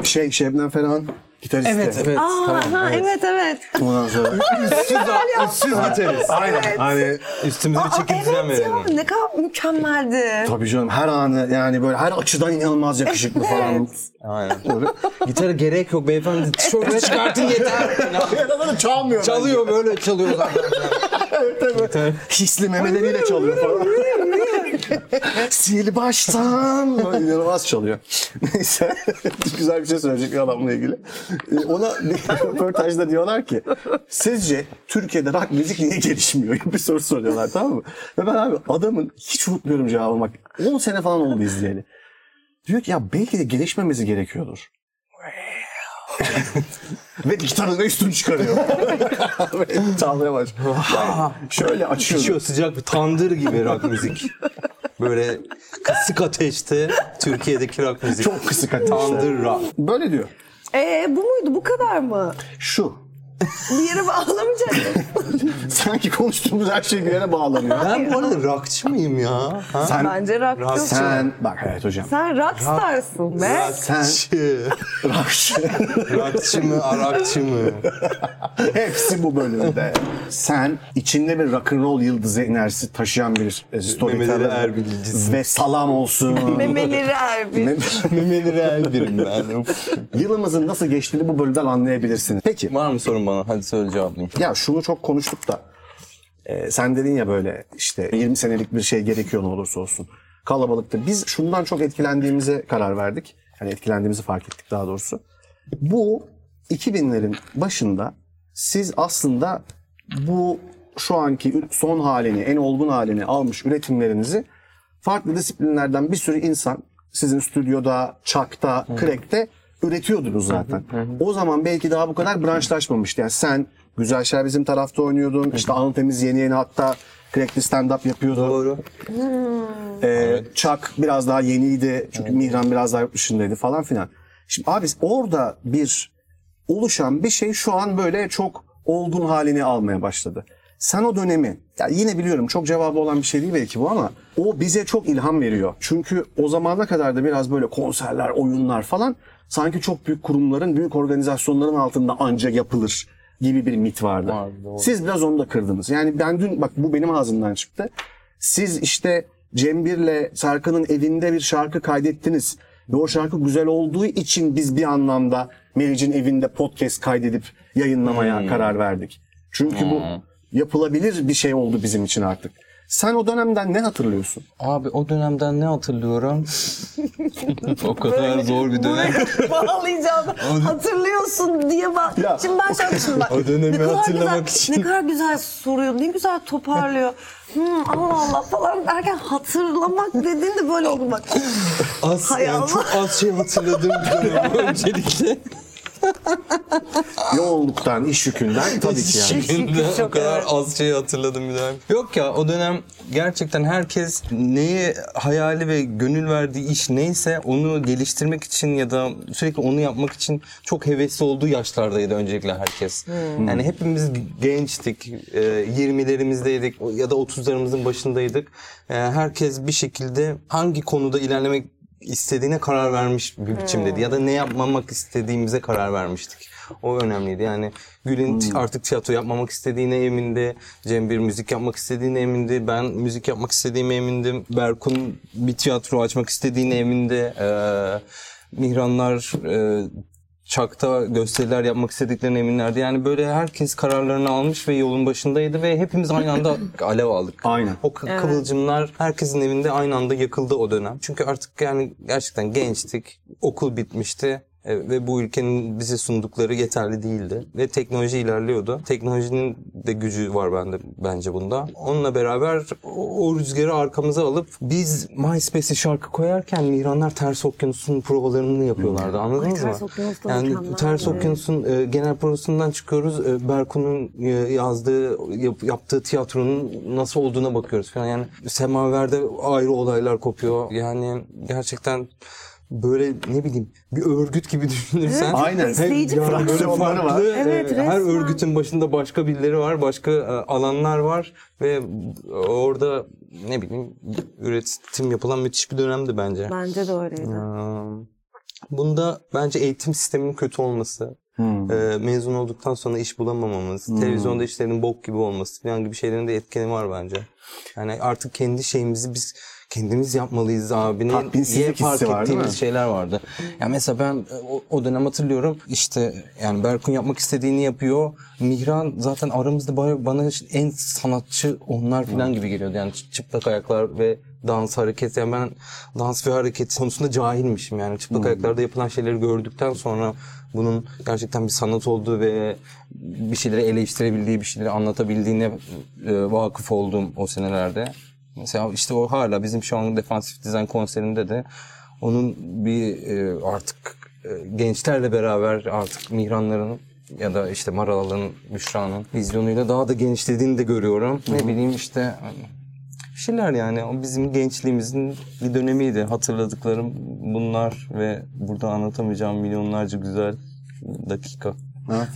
S2: Şey Şebnem Ferhan gitariste.
S3: Aa, ha, evet evet.
S2: [LAUGHS] Ondan sonra.
S4: Üstsüz, üstsüz biteriz.
S2: Aynen. Hani
S4: Üstümüze bir
S3: Aa,
S4: çekip düzen
S3: evet ya
S4: verelim.
S3: ne kadar mükemmeldi.
S2: tabii canım her anı yani böyle her açıdan inanılmaz yakışıklı falan.
S4: Aynen. Gitara gerek yok beyefendi. Tişörtü çıkartın yeter.
S2: Yaraları çalmıyor.
S4: çalıyor böyle çalıyor zaten.
S2: Hisli memeleriyle çalıyor falan. [LAUGHS] Sil baştan. Böyle İnanılmaz çalıyor. [LAUGHS] Neyse. Güzel bir şey söyleyecek bir adamla ilgili. Ee, Ona bir [LAUGHS] röportajda diyorlar ki sizce Türkiye'de rock müzik niye gelişmiyor? bir soru soruyorlar tamam mı? Ve ben abi adamın hiç unutmuyorum cevabı bak. 10 sene falan oldu izleyeli. Diyor ki ya belki de gelişmemesi gerekiyordur. [LAUGHS] Ve gitarın da üstünü çıkarıyor. [LAUGHS] Ve Çalmaya başlıyor. Yani şöyle açıyor.
S4: Pişiyor sıcak bir tandır gibi rock müzik. Böyle kısık ateşte Türkiye'deki rock müzik.
S2: Çok kısık ateşte.
S4: Tandır rock.
S2: Böyle diyor.
S3: Ee, bu muydu? Bu kadar mı?
S2: Şu.
S3: Bir yere bağlamayacak mısın?
S2: Sanki konuştuğumuz her şey bir yere bağlanıyor.
S4: Ben bu arada rockçı mıyım ya? Ha?
S2: Sen,
S3: Bence şey. rockçı. Sen,
S2: sen, bak evet hocam.
S3: rockstarsın be.
S2: Sen,
S4: Rockçı.
S2: Rakşi.
S4: rockçı mı, arakçı mı?
S2: [LAUGHS] Hepsi bu bölümde. sen içinde bir rock'n'roll yıldızı enerjisi taşıyan bir e,
S4: Memeleri
S2: storyteller.
S4: Erbil'cisin.
S2: Ve salam olsun.
S3: [LAUGHS]
S2: er
S3: Memeleri Erbil.
S2: Mem-
S4: Memeleri Erbil'im ben.
S2: [LAUGHS]
S4: Uf.
S2: Yılımızın nasıl geçtiğini bu bölümden anlayabilirsiniz. Peki.
S4: Var mı sorun bana? Hadi söyle cevaplayayım.
S2: Ya şunu çok konuştuk da. e, sen dedin ya böyle işte 20 senelik bir şey gerekiyor ne olursa olsun. Kalabalıkta. Biz şundan çok etkilendiğimize karar verdik. Yani etkilendiğimizi fark ettik daha doğrusu. Bu 2000'lerin başında siz aslında bu şu anki ü- son halini, en olgun halini almış üretimlerinizi farklı disiplinlerden bir sürü insan sizin stüdyoda, çakta, krekte üretiyordunuz zaten. O zaman belki daha bu kadar branşlaşmamıştı. Yani sen Güzel Şer bizim tarafta oynuyordun. İşte Anıl Temiz yeni yeni hatta krekli stand-up yapıyordu.
S4: Doğru.
S2: Ee, Çak biraz daha yeniydi. Çünkü Mihran biraz daha yurt dışındaydı falan filan. Şimdi abi orada bir oluşan bir şey şu an böyle çok olgun halini almaya başladı. Sen o dönemi, ya yine biliyorum çok cevabı olan bir şey değil belki bu ama o bize çok ilham veriyor. Çünkü o zamana kadar da biraz böyle konserler, oyunlar falan sanki çok büyük kurumların, büyük organizasyonların altında anca yapılır gibi bir mit vardı.
S4: Var, doğru.
S2: Siz biraz onu da kırdınız. Yani ben dün, bak bu benim ağzımdan çıktı. Siz işte Cembir'le Sarkan'ın evinde bir şarkı kaydettiniz. Ve o şarkı güzel olduğu için biz bir anlamda Meriç'in evinde podcast kaydedip yayınlamaya karar verdik. Çünkü bu yapılabilir bir şey oldu bizim için artık. Sen o dönemden ne hatırlıyorsun?
S4: Abi o dönemden ne hatırlıyorum? [LAUGHS] o kadar zor bir dönem.
S3: [LAUGHS]
S2: [LAUGHS]
S3: bağlayacağını hatırlıyorsun diye bak.
S2: Ya,
S3: Şimdi ben şey yapmışım bak.
S4: o dönemi
S3: ne kadar
S4: hatırlamak
S3: güzel,
S4: için.
S3: Ne kadar güzel soruyor, ne güzel
S2: [LAUGHS]
S3: toparlıyor. Hmm, Allah Allah falan derken hatırlamak dediğinde böyle oldu bak.
S4: Az,
S3: Hay
S4: yani
S3: Allah.
S4: çok az şey hatırladığım bir dönem [LAUGHS] öncelikle.
S2: Yoğunluktan, iş yükünden tabii ki yani.
S4: Şimdi o kadar az şey hatırladım bir dönem. Yok ya o dönem gerçekten herkes neye hayali ve gönül verdiği iş neyse onu geliştirmek için ya da sürekli onu yapmak için çok hevesli olduğu yaşlardaydı öncelikle herkes. Yani hepimiz gençtik, e, 20'lerimizdeydik ya da 30'larımızın başındaydık. E, Herkes bir şekilde hangi konuda ilerlemek istediğine karar vermiş bir biçimdeydi ya da ne yapmamak istediğimize karar vermiştik. O önemliydi. Yani Gül'ün ti- artık tiyatro yapmamak istediğine emindi. Cem bir müzik yapmak istediğine emindi. Ben müzik yapmak istediğime emindim. Berkun bir tiyatro açmak istediğine emindi. Ee, Mihranlar e, Çak'ta gösteriler yapmak istediklerine eminlerdi. Yani böyle herkes kararlarını almış ve yolun başındaydı ve hepimiz aynı anda alev aldık.
S2: Aynen.
S4: O kı- kıvılcımlar herkesin evinde aynı anda yakıldı o dönem. Çünkü artık yani gerçekten gençtik, okul bitmişti. e, Ve bu ülkenin bize sundukları yeterli değildi. Ve teknoloji ilerliyordu. Teknolojinin de gücü var bende bence bunda. Onunla beraber o, o rüzgarı arkamıza alıp biz MySpace'e şarkı koyarken Mihranlar Ters Okyanus'un provalarını yapıyorlardı. Anladınız
S3: Ay,
S4: mı?
S3: Ters Okyanus da
S4: yani
S3: mükemmel.
S4: Ters Okyanus'un e, genel provasından çıkıyoruz. E, Berkun'un e, yazdığı, yap- yaptığı tiyatronun nasıl olduğuna bakıyoruz falan. Yani semaverde ayrı olaylar kopuyor. Yani gerçekten böyle ne bileyim bir örgüt gibi [LAUGHS] düşünürsen.
S2: Aynen.
S3: İzleyici
S2: Hem
S3: farklı.
S2: böyle onları var.
S4: farklı,
S3: Evet,
S4: e, her
S3: resmen.
S4: örgütün başında başka birileri var, başka e, alanlar var ve orada ne bileyim üretim yapılan müthiş bir dönemdi bence.
S3: Bence de öyleydi.
S4: Ee, Bunda bence eğitim sisteminin kötü olması,
S2: Hmm.
S4: e, mezun olduktan sonra iş bulamamamız, televizyonda işlerin bok gibi olması falan gibi şeylerin de etkeni var bence. Yani artık kendi şeyimizi biz kendimiz yapmalıyız abi. Ne,
S2: Tatminsizlik
S4: niye fark
S2: hissi var, değil
S4: ettiğimiz
S2: mi?
S4: şeyler vardı. Ya mesela ben e, o, o dönem hatırlıyorum işte yani Berkun yapmak istediğini yapıyor. Mihran zaten aramızda bana, bana en sanatçı onlar falan gibi geliyordu. Yani çı- çıplak ayaklar ve dans hareket. Yani ben dans ve hareket konusunda cahilmişim yani. Çıplak ayaklarda yapılan şeyleri gördükten sonra bunun gerçekten bir sanat olduğu ve bir şeyleri eleştirebildiği, bir şeyleri anlatabildiğine e, vakıf olduğum o senelerde. Mesela işte o hala bizim şu an defansif dizayn konserinde de onun bir e, artık e, gençlerle beraber artık Mihranların ya da işte Maralal'ın, Büşra'nın vizyonuyla daha da gençlediğini de görüyorum. Ne bileyim işte hani bir şeyler yani o bizim gençliğimizin bir dönemiydi. Hatırladıklarım bunlar ve burada anlatamayacağım milyonlarca güzel dakika.
S2: Evet.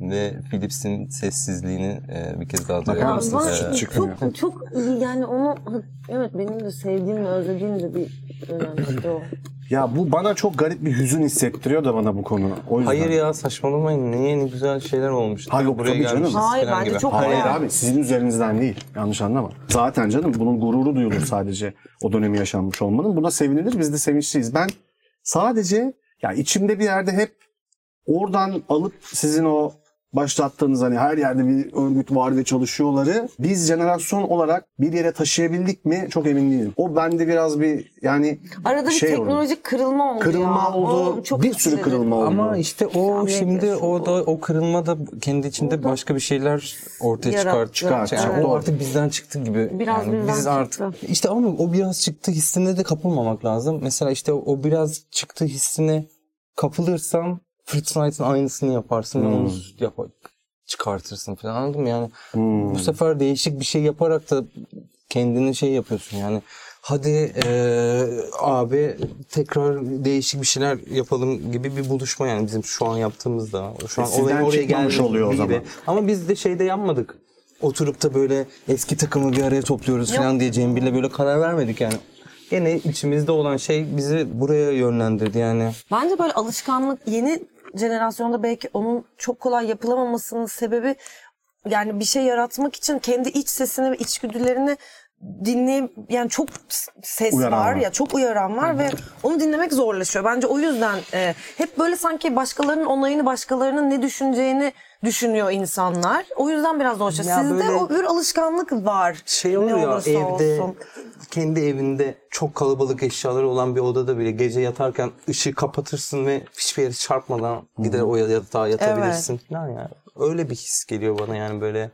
S4: Ve Philips'in sessizliğini e, bir kez daha
S2: Bakar
S4: duyuyorum.
S2: mısın?
S4: Ee,
S2: Çık- çıkmıyor.
S5: Çok çok iyi yani onu evet benim de sevdiğim ve özlediğim de bir dönemdi o.
S2: Ya bu bana çok garip bir hüzün hissettiriyor da bana bu konu. O yüzden.
S4: Hayır ya saçmalamayın. Ne yeni güzel şeyler olmuş.
S2: Hayır, tabii canım.
S5: Hayır,
S4: falan
S5: bence çok
S2: Hayır
S5: Bayağı.
S2: abi sizin üzerinizden değil. Yanlış anlama. Zaten canım bunun gururu duyulur sadece o dönemi yaşanmış olmanın. Buna sevinilir. Biz de sevinçliyiz. Ben sadece ya içimde bir yerde hep oradan alıp sizin o başlattığınız hani her yerde bir örgüt var ve çalışıyorları biz jenerasyon olarak bir yere taşıyabildik mi çok emin değilim. O bende biraz bir yani
S5: Arada bir
S2: şey oldu.
S5: teknolojik kırılma oldu
S2: kırılma
S5: ya.
S2: oldu.
S5: O çok
S2: bir sürü
S5: üzücü.
S2: kırılma oldu.
S4: Ama işte o
S5: Sen
S4: şimdi
S5: bekliyorsun.
S4: o da o kırılma da kendi içinde başka bir şeyler ortaya
S5: Yarat-
S4: çıkar çıkar.
S2: çıkar,
S4: Yani
S2: doğru.
S4: o artık bizden çıktı gibi.
S5: Biraz
S4: yani
S5: bizden
S4: biz artık
S5: çıktı.
S4: işte ama o biraz çıktı hissine de kapılmamak lazım. Mesela işte o, o biraz çıktı hissine kapılırsan Fritz Wright'ın aynısını yaparsın ve onu yap çıkartırsın falan anladın mı? Yani bu sefer değişik bir şey yaparak da kendini şey yapıyorsun yani hadi eee, abi tekrar değişik bir şeyler yapalım gibi bir buluşma yani bizim şu an yaptığımızda. Şu an
S2: E, sizden çıkmamış
S4: geldiğimiz
S2: oluyor o
S4: gibi.
S2: zaman.
S4: Ama biz de şeyde yapmadık. Oturup da böyle eski takımı bir araya topluyoruz falan diye Cembil'le böyle karar vermedik yani. Gene içimizde olan şey bizi buraya yönlendirdi yani.
S3: Bence böyle alışkanlık yeni jenerasyonda belki onun çok kolay yapılamamasının sebebi yani bir şey yaratmak için kendi iç sesini ve içgüdülerini dinleyip yani çok s- ses
S2: Uyaran
S3: var
S2: var.
S3: ya çok uyaran var ve onu dinlemek zorlaşıyor. Bence o yüzden e, hep böyle sanki başkalarının onayını başkalarının ne düşüneceğini düşünüyor insanlar. O yüzden biraz zorlaşıyor.
S4: Ya
S3: Sizde
S4: böyle-
S3: o bir alışkanlık var.
S4: şey oluyor
S3: ne
S4: ya,
S3: olursa
S4: evde
S3: olsun.
S4: kendi evinde çok kalabalık eşyaları olan bir odada bile gece yatarken ışığı kapatırsın ve hiçbir yere çarpmadan gider o yatağa yatabilirsin falan ya. Öyle bir his geliyor bana yani böyle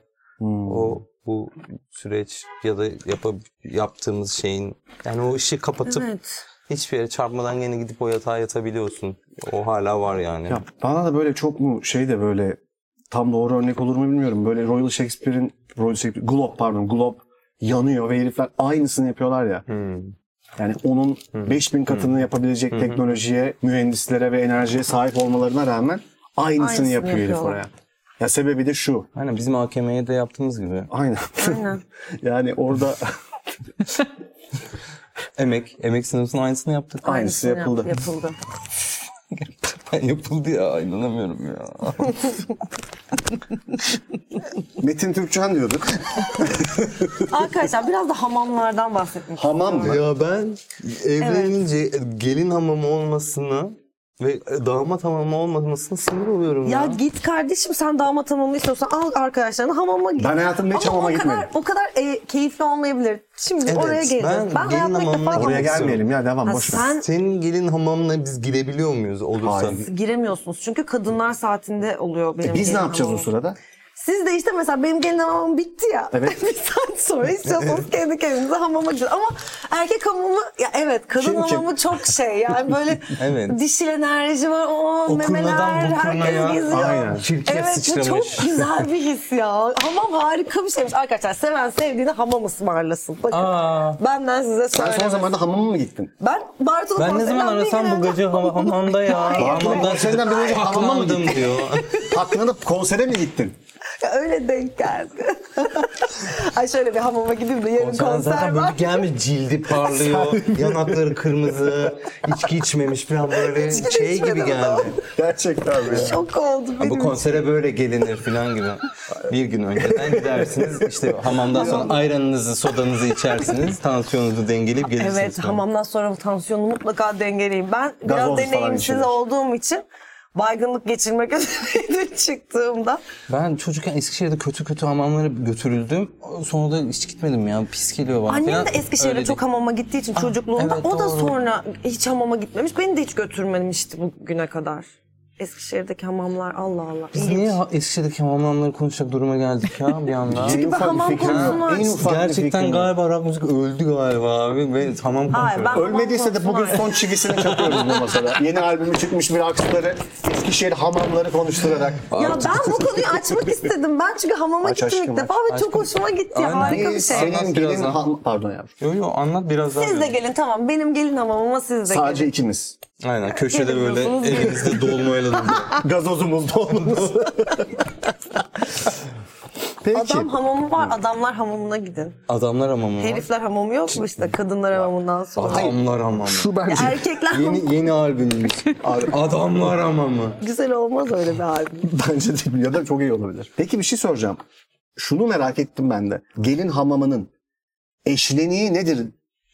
S4: o bu süreç ya da yapıp yaptığımız şeyin yani o ışığı kapatıp
S3: Evet.
S4: hiçbir yere çarpmadan yine gidip o yatağa yatabiliyorsun. O hala var yani.
S2: Ya bana da böyle çok mu şey de böyle tam doğru örnek olur mu bilmiyorum. Böyle Royal Shakespeare'in Royal Shakespeare, Globe pardon Globe yanıyor ve herifler aynısını yapıyorlar ya.
S4: Hmm.
S2: Yani onun 5000 katını yapabilecek teknolojiye, mühendislere ve enerjiye sahip olmalarına rağmen aynısını,
S3: Aynısını
S2: yapıyor herif
S3: yapıyorlar.
S2: oraya. Ya sebebi de şu.
S4: Aynen bizim AKM'ye de yaptığımız gibi.
S2: Aynen.
S3: Aynen.
S2: [LAUGHS] yani orada [LAUGHS]
S4: Emek, emek sınıfının aynısını yaptık.
S2: aynısı yapıldı.
S3: Yapıldı.
S4: [LAUGHS] Yapıldı ya inanamıyorum ya.
S2: Metin Türkçen diyorduk.
S3: Arkadaşlar biraz da hamamlardan bahsetmek
S2: Hamam mı?
S4: Ya ben evlenince gelin hamamı olmasını ve e, damat hamamı olmasına sinir oluyorum ya.
S3: Ya git kardeşim sen damat hamamı istiyorsan al arkadaşlarını hamama git.
S2: Ben hayatımda hiç
S3: Ama
S2: hamama
S3: o kadar,
S2: gitmedim.
S3: O kadar e, keyifli olmayabilir. Şimdi
S4: Evet,
S3: oraya
S4: ben
S3: geleceğiz. Ben,
S4: gelin
S3: hayatımda ilk defa
S4: hamamına-
S2: Oraya
S3: hamam-
S2: gelmeyelim ya devam
S3: Ha,
S2: boş ver.
S3: sen
S4: Senin gelin hamamına biz girebiliyor muyuz olursa?
S2: Hayır.
S3: giremiyorsunuz çünkü kadınlar saatinde oluyor benim
S2: E, Biz
S3: gelin
S2: ne yapacağız o
S3: hamamım.
S2: sırada?
S3: Siz de işte mesela benim gelin hamamım bitti ya.
S2: Evet.
S3: [LAUGHS] bir saat sonra istiyorsanız kendi kendinize hamama gidin. Ama erkek hamamı ya evet kadın
S2: Kim kim?
S3: hamamı çok şey yani böyle
S4: [LAUGHS] Evet.
S3: dişil enerji var. O
S4: Okurnadan
S3: memeler
S4: bokuruna ya.
S3: herkes geziyor.
S2: Aynen.
S4: Çirkef
S3: evet bu
S4: sıçramış.
S3: çok güzel
S4: [LAUGHS]
S3: bir his ya. Hamam harika bir şeymiş. Arkadaşlar seven sevdiğini hamam ısmarlasın. Bakın
S4: Aa.
S3: benden
S2: Sen
S3: size söyleyeyim.
S2: son zamanlarda hamama mı gittin?
S3: Ben Bartolo
S4: Ben ne zaman
S3: konserinden bir
S4: arasam
S3: gelen-
S4: bu gacı
S3: [LAUGHS]
S4: hava- hamamda ya. Hamamdan
S2: Senden bir
S4: [LAUGHS]
S2: önce hamama mı
S4: haklandım
S2: gittin?
S4: diyor.
S2: Aklına konsere mi gittin?
S3: Ya Öyle denk
S4: [LAUGHS]
S3: geldi. Ay şöyle bir hamama gideyim de yarın
S4: Sonra
S3: konser
S4: zaten böyle
S3: var.
S4: bir gelmiş cildi parlıyor, yanakları kırmızı, içki içmemiş falan böyle
S3: İçki de
S4: şey
S3: içmedim
S4: gibi geldi.
S2: Gerçekten mi?
S3: Şok oldu
S4: Ha,
S3: benim.
S4: bu konsere böyle gelinir falan [LAUGHS] gibi. Bir gün önceden gidersiniz. İşte hamamdan sonra ayranınızı, sodanızı [LAUGHS] içersiniz. Tansiyonunuzu dengeleyip gelirsiniz.
S3: Evet
S4: sonra.
S3: hamamdan sonra tansiyonu mutlaka dengeleyeyim. Ben
S2: Gazoz falan
S3: biraz deneyimsiz
S2: içilir.
S3: olduğum için baygınlık geçirmek [LAUGHS] üzereydim çıktığımda.
S4: Ben çocukken Eskişehir'de kötü kötü hamamlara götürdüm. Sonra da hiç gitmedim ya. Pis geliyor bana
S3: Annem
S4: falan.
S3: de Eskişehir'de
S4: Öyle
S3: çok
S4: değil.
S3: hamama gittiği için
S4: Ah,
S3: çocukluğunda
S4: evet,
S3: o da
S4: doğru.
S3: sonra hiç hamama gitmemiş. Beni de hiç götürmemişti bugüne kadar. Eskişehir'deki hamamlar Allah Allah.
S4: Biz
S3: İlginç.
S4: niye ha- Eskişehir'deki hamamları konuşacak duruma geldik ya bir [LAUGHS] anda?
S2: En
S3: ben
S2: ufak bir
S3: hamam
S2: fikrim yok. En ufak
S3: konusunu
S2: bir fikrim
S4: Gerçekten
S2: yok.
S4: galiba rock müzik öldü galiba abi ve hamam
S3: Hayır,
S4: konuşuyoruz.
S3: ben-
S2: Ölmediyse de bugün son çivisini çakıyoruz bu masada. Yeni albümü çıkmış bir aksları Eskişehir hamamları konuşturarak.
S3: Ya ben bu konuyu açmak istedim. Ben çünkü hamama
S2: Aç
S3: gittim
S2: aşkım,
S3: ilk defa ve çok hoşuma gitti.
S4: Aynen.
S3: Harika bir
S2: Biz
S3: şey.
S2: Senin gelin ham- pardon yavrum.
S4: Yo yo anlat biraz daha.
S3: Siz de gelin tamam. Benim gelin hamamıma siz de gelin.
S2: Sadece ikimiz.
S4: Aynen köşede böyle
S3: Geliyorsunuz,
S4: elinizde dolmayla duruyor.
S3: Ah.
S2: Gazozumuz
S3: [LAUGHS]
S2: dolmamız. Peki.
S3: Adam hamamı var. Adamlar hamamına gidin.
S4: [LAUGHS] Adamlar hamamı var.
S3: Herifler hamamı yok mu işte kadınlar hamamından sonra?
S4: Adamlar hamamı.
S2: Şu bence.
S3: [LAUGHS] Erkekler hamamı
S4: Yeni [LAUGHS] yeni albümümüz. Adamlar hamamı.
S3: güzel olmaz öyle bir albüm.
S2: [LAUGHS] Bence de ya da çok iyi olabilir. Peki bir şey soracağım. Şunu merak ettim ben de. Gelin hamamının eşleniği nedir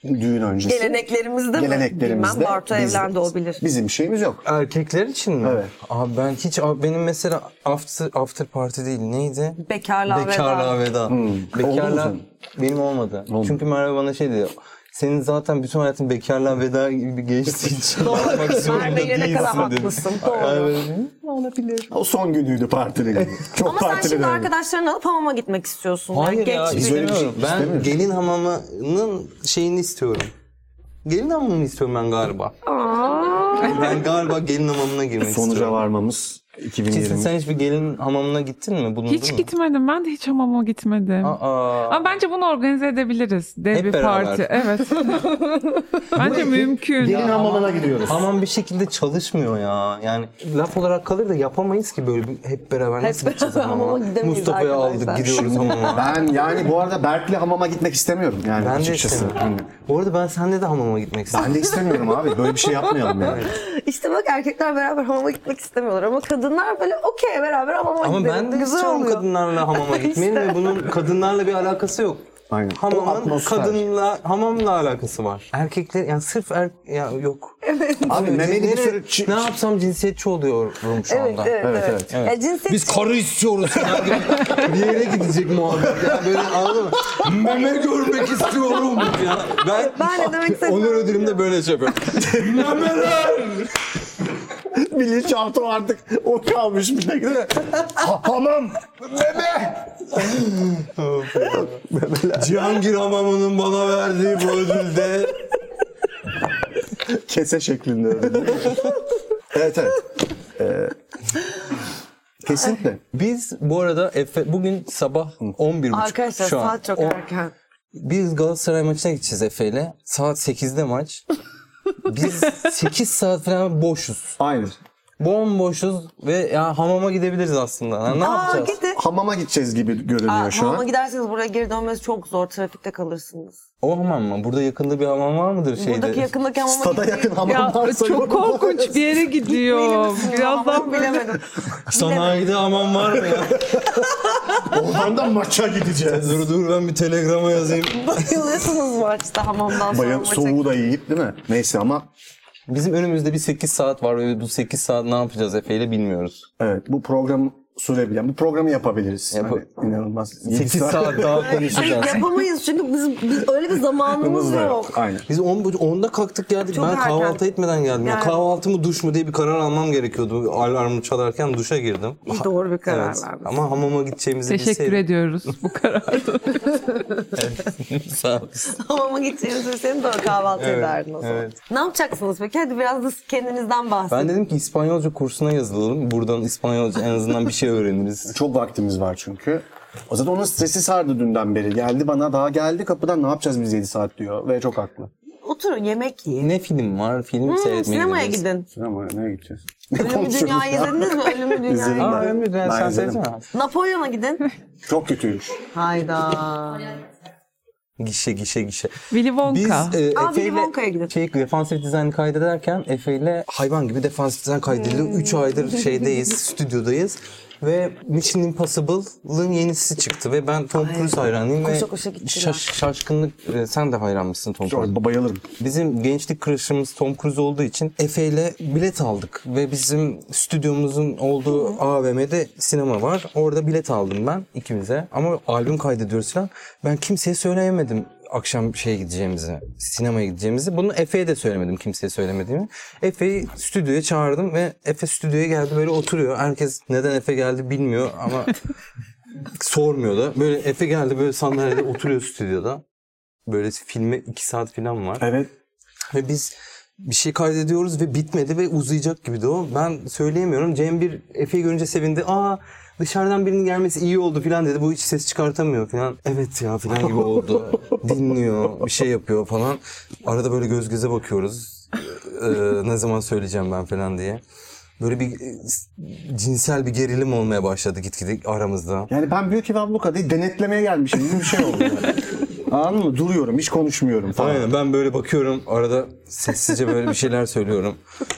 S2: düğün öncesi?
S3: Geleneklerimizde mi?
S2: Geleneklerimizde.
S3: Bilmem Bartu
S2: biz-
S3: evlendi o bilir.
S2: Bizim şeyimiz yok.
S4: Erkekler için mi?
S2: Evet.
S4: Abi ben hiç abi benim mesela after after party değil neydi?
S3: Bekarlığa veda.
S4: Bekarlığa veda.
S2: Hmm. Oldu mu
S4: Bekarlığa
S2: senin?
S4: benim olmadı. Çünkü Merve bana şey dedi. Senin zaten bütün hayatın bekarlığa veda gibi geçtiği için yapmak zorunda
S3: Merve ne
S4: değilsin
S3: kadar
S4: dedi.
S3: haklısın. Doğru.
S4: Evet.
S2: O son günüydü partinin günü. [LAUGHS] Çok
S3: Ama sen
S2: partili
S3: şimdi
S2: dönemi.
S3: arkadaşlarını alıp hamama gitmek istiyorsun. Yani
S4: Hayır ya
S3: geç
S2: biz öyle bir şey
S4: istemiyorum. Ben
S2: istemiyoruz.
S4: gelin hamamının şeyini istiyorum. Gelin hamamını istiyorum ben galiba. ben galiba gelin hamamına girmek
S2: Sonuca
S4: istiyorum.
S2: varmamız
S4: Çiğsin
S2: 2020.
S4: sen hiçbir gelin hamamına gittin mi? Bulundun
S6: Hiç
S4: mu?
S6: gitmedim. Ben de hiç hamama gitmedim.
S4: Aa,
S6: Ama bence bunu organize edebiliriz. Dev
S4: Hep
S6: bir
S4: beraber.
S6: parti. [LAUGHS] Evet. bence mümkün.
S2: Gelin hamamına gidiyoruz.
S4: Hamam bir şekilde çalışmıyor ya. Yani laf olarak kalır da yapamayız ki böyle bir, hep beraber nasıl gideceğiz
S5: beraber
S4: hamama?
S5: hamama gidemeyiz
S4: Mustafa'yı
S5: arkadaşlar.
S4: aldık gidiyoruz [LAUGHS] hamama.
S2: Ben yani bu arada Berk'le hamama gitmek istemiyorum yani
S4: Ben de
S2: açıkçası.
S4: istemiyorum. Bu arada ben sende de hamama gitmek istedim.
S2: Ben de istemiyorum abi. Böyle bir şey yapmayalım yani.
S3: İşte bak erkekler beraber hamama gitmek istemiyorlar ama kadınlar böyle okey beraber hamama
S4: Ama
S3: gidelim.
S4: ben de
S3: Güzel
S4: istiyorum
S3: oluyor.
S4: kadınlarla hamama gitmeyi ve bunun kadınlarla bir alakası yok.
S2: Aynen. O
S4: Hamamın
S2: atmosfer.
S4: kadınla hamamla alakası var. Erkekler yani sırf er ya yok.
S2: Abi memeli bir
S4: Nereye-
S2: sürü... çi-
S4: ne yapsam cinsiyetçi oluyorum şu
S3: Evet,
S4: anda.
S3: evet,
S2: Evet,
S3: evet.
S2: evet.
S3: Ya cinsiyet
S4: Biz karı istiyoruz falan gibi [LAUGHS] bir yere gidecek muhabbet. Ya böyle anladın mı? Meme görmek istiyorum ya. Ben,
S3: Ben ne demek istediğimi
S4: Onur ödülümde böyle şey yapıyorum. Memeler!
S2: Bilinçaltı artık o kalmış bir tek değil mi? Ha- hamam! Meme!
S4: Cihangir Hamamı'nın bana verdiği bu ödülde
S2: Kese şeklinde öyle değil mi? Evet evet. Ee, kesinlikle.
S4: Biz bu arada Efe, bugün sabah 11.30
S5: Arkadaşlar
S4: şu an.
S5: saat çok
S4: O-
S5: erken.
S4: Biz Galatasaray maçına gideceğiz Efe ile. Saat 8'de maç. Biz 8 saat falan boşuz.
S2: Aynen.
S4: Bomboşuz ve ya hamama gidebiliriz aslında. Ha, ne
S3: Aa
S4: yapacağız?
S3: gidin.
S2: Hamama gideceğiz gibi görünüyor
S3: Aa,
S2: şu
S3: hamama
S2: an.
S3: giderseniz buraya geri dönmeniz çok zor. Trafikte kalırsınız.
S4: O hamam mı? Burada yakında bir hamam var mıdır şeyde?
S3: Buradaki yakındaki hamama
S2: Stada
S3: gideyim.
S2: yakın hamam
S6: Ya,
S2: varsa
S6: çok
S2: yok.
S6: korkunç bir yere gidiyor.
S3: Bilemedim.
S6: Birazdan
S3: Hamam bilemedim.
S4: Sanayide hamam var mı ya?
S2: Oradan da maça gideceğiz.
S4: [LAUGHS] dur dur ben bir telegrama yazayım.
S3: [LAUGHS] Bayılıyorsunuz maçta hamamdan sonra
S2: Bayağı
S3: maça.
S2: soğuğu da yiyip değil mi? Neyse ama
S4: Bizim önümüzde bir 8 saat var ve bu 8 saat ne yapacağız Efe ile bilmiyoruz.
S2: evet bu program sürebilen bu programı yapabiliriz.
S4: Yap-
S2: Hani inanılmaz.
S4: 8 saat [LAUGHS] daha konuşacağız.
S3: Yapamayız çünkü bizim, biz öyle bir zamanımız yok.
S2: Aynen.
S4: Biz 10 buçuk- 10'da kalktık geldik.
S3: Çok
S4: ben
S3: erken.
S4: kahvaltı etmeden geldim. Ya
S3: Yani-
S4: kahvaltı mı duş mu diye bir karar almam gerekiyordu. Alarmı çalarken duşa girdim. Ha-
S5: Doğru bir karar
S4: Evet.
S5: vermiş.
S4: Ama hamama gideceğimizi
S6: Teşekkür
S4: bilseydim.
S6: ediyoruz bu kararda.
S4: [LAUGHS] Sağ ol.
S3: Hamama gideceğimiz senin de kahvaltı ederdin o zaman.
S4: evet.
S3: Ne yapacaksınız peki? Hadi biraz da kendinizden bahsedin.
S4: Ben dedim ki İspanyolca kursuna yazılalım. Buradan İspanyolca en azından bir şey öğreniriz.
S2: Çok vaktimiz var çünkü. O Zaten onun stresi sardı dünden beri. Geldi bana daha geldi kapıdan ne yapacağız biz 7 saat diyor. Ve çok haklı.
S3: Oturun yemek yiyin.
S4: Ne film var? Film
S3: Hmm,
S4: seyretmeye
S3: sinemaya
S4: gideriz.
S3: gidin.
S2: Sinemaya nereye gideceğiz?
S3: Ölümü Dünya'yı izlediniz mi? Ölümü
S2: İzledim.
S3: Dünya'yı.
S4: Aa Ömür
S2: Ben
S4: ben sen
S2: izledim.
S4: seyretme.
S3: Napolyon'a gidin.
S2: Çok kötüymüş.
S3: Hayda.
S4: Gişe gişe gişe.
S6: Willy
S4: Biz
S6: Wonka.
S4: e,
S3: Aa,
S4: Efe
S3: Willy Wonka'ya
S4: ile
S3: gidelim.
S4: şey, defansif dizayn kaydederken Efe ile hayvan gibi defansif dizayn kaydediliyor.
S3: Hmm.
S4: 3
S3: [LAUGHS]
S4: aydır şeydeyiz, stüdyodayız. Ve Mission Impossible'ın yenisi çıktı ve ben Tom Cruise hayranıyım ve
S3: Koşa koşa gittiler.
S4: şaş- şaşkınlık e, sen de hayranmışsın Tom Cruise.
S2: Çok bayılırım.
S4: Bizim gençlik crush'ımız Tom Cruise olduğu için Efe ile bilet aldık ve bizim stüdyomuzun olduğu AVM'de sinema var. Orada bilet aldım ben ikimize ama albüm kaydediyoruz falan. Ben kimseye söyleyemedim akşam şeye gideceğimizi, sinemaya gideceğimizi. Bunu Efe'ye de söylemedim kimseye söylemediğimi. Efe'yi stüdyoya çağırdım ve Efe stüdyoya geldi böyle oturuyor. Herkes neden Efe geldi bilmiyor ama [LAUGHS] sormuyor da. Böyle Efe geldi böyle sandalyede oturuyor stüdyoda. Böyle filme iki saat falan var.
S2: Evet.
S4: Ve Hani biz bir şey kaydediyoruz ve bitmedi ve uzayacak gibi de o. Ben söyleyemiyorum. Cem bir Efe'yi görünce sevindi. Aa dışarıdan birinin gelmesi iyi oldu falan dedi. Bu hiç ses çıkartamıyor falan. Evet ya falan gibi [LAUGHS] oldu. Dinliyor, bir şey yapıyor falan. Arada böyle göz göze bakıyoruz. Ee, ne zaman söyleyeceğim ben falan diye. Böyle bir e, cinsel bir gerilim olmaya başladı gitgide aramızda.
S2: Yani ben büyük ev abluka değil denetlemeye gelmişim gibi bir şey oldu. [LAUGHS] yani. Anladın mı? Duruyorum hiç konuşmuyorum falan.
S4: Aynen ben böyle bakıyorum arada sessizce böyle bir şeyler söylüyorum.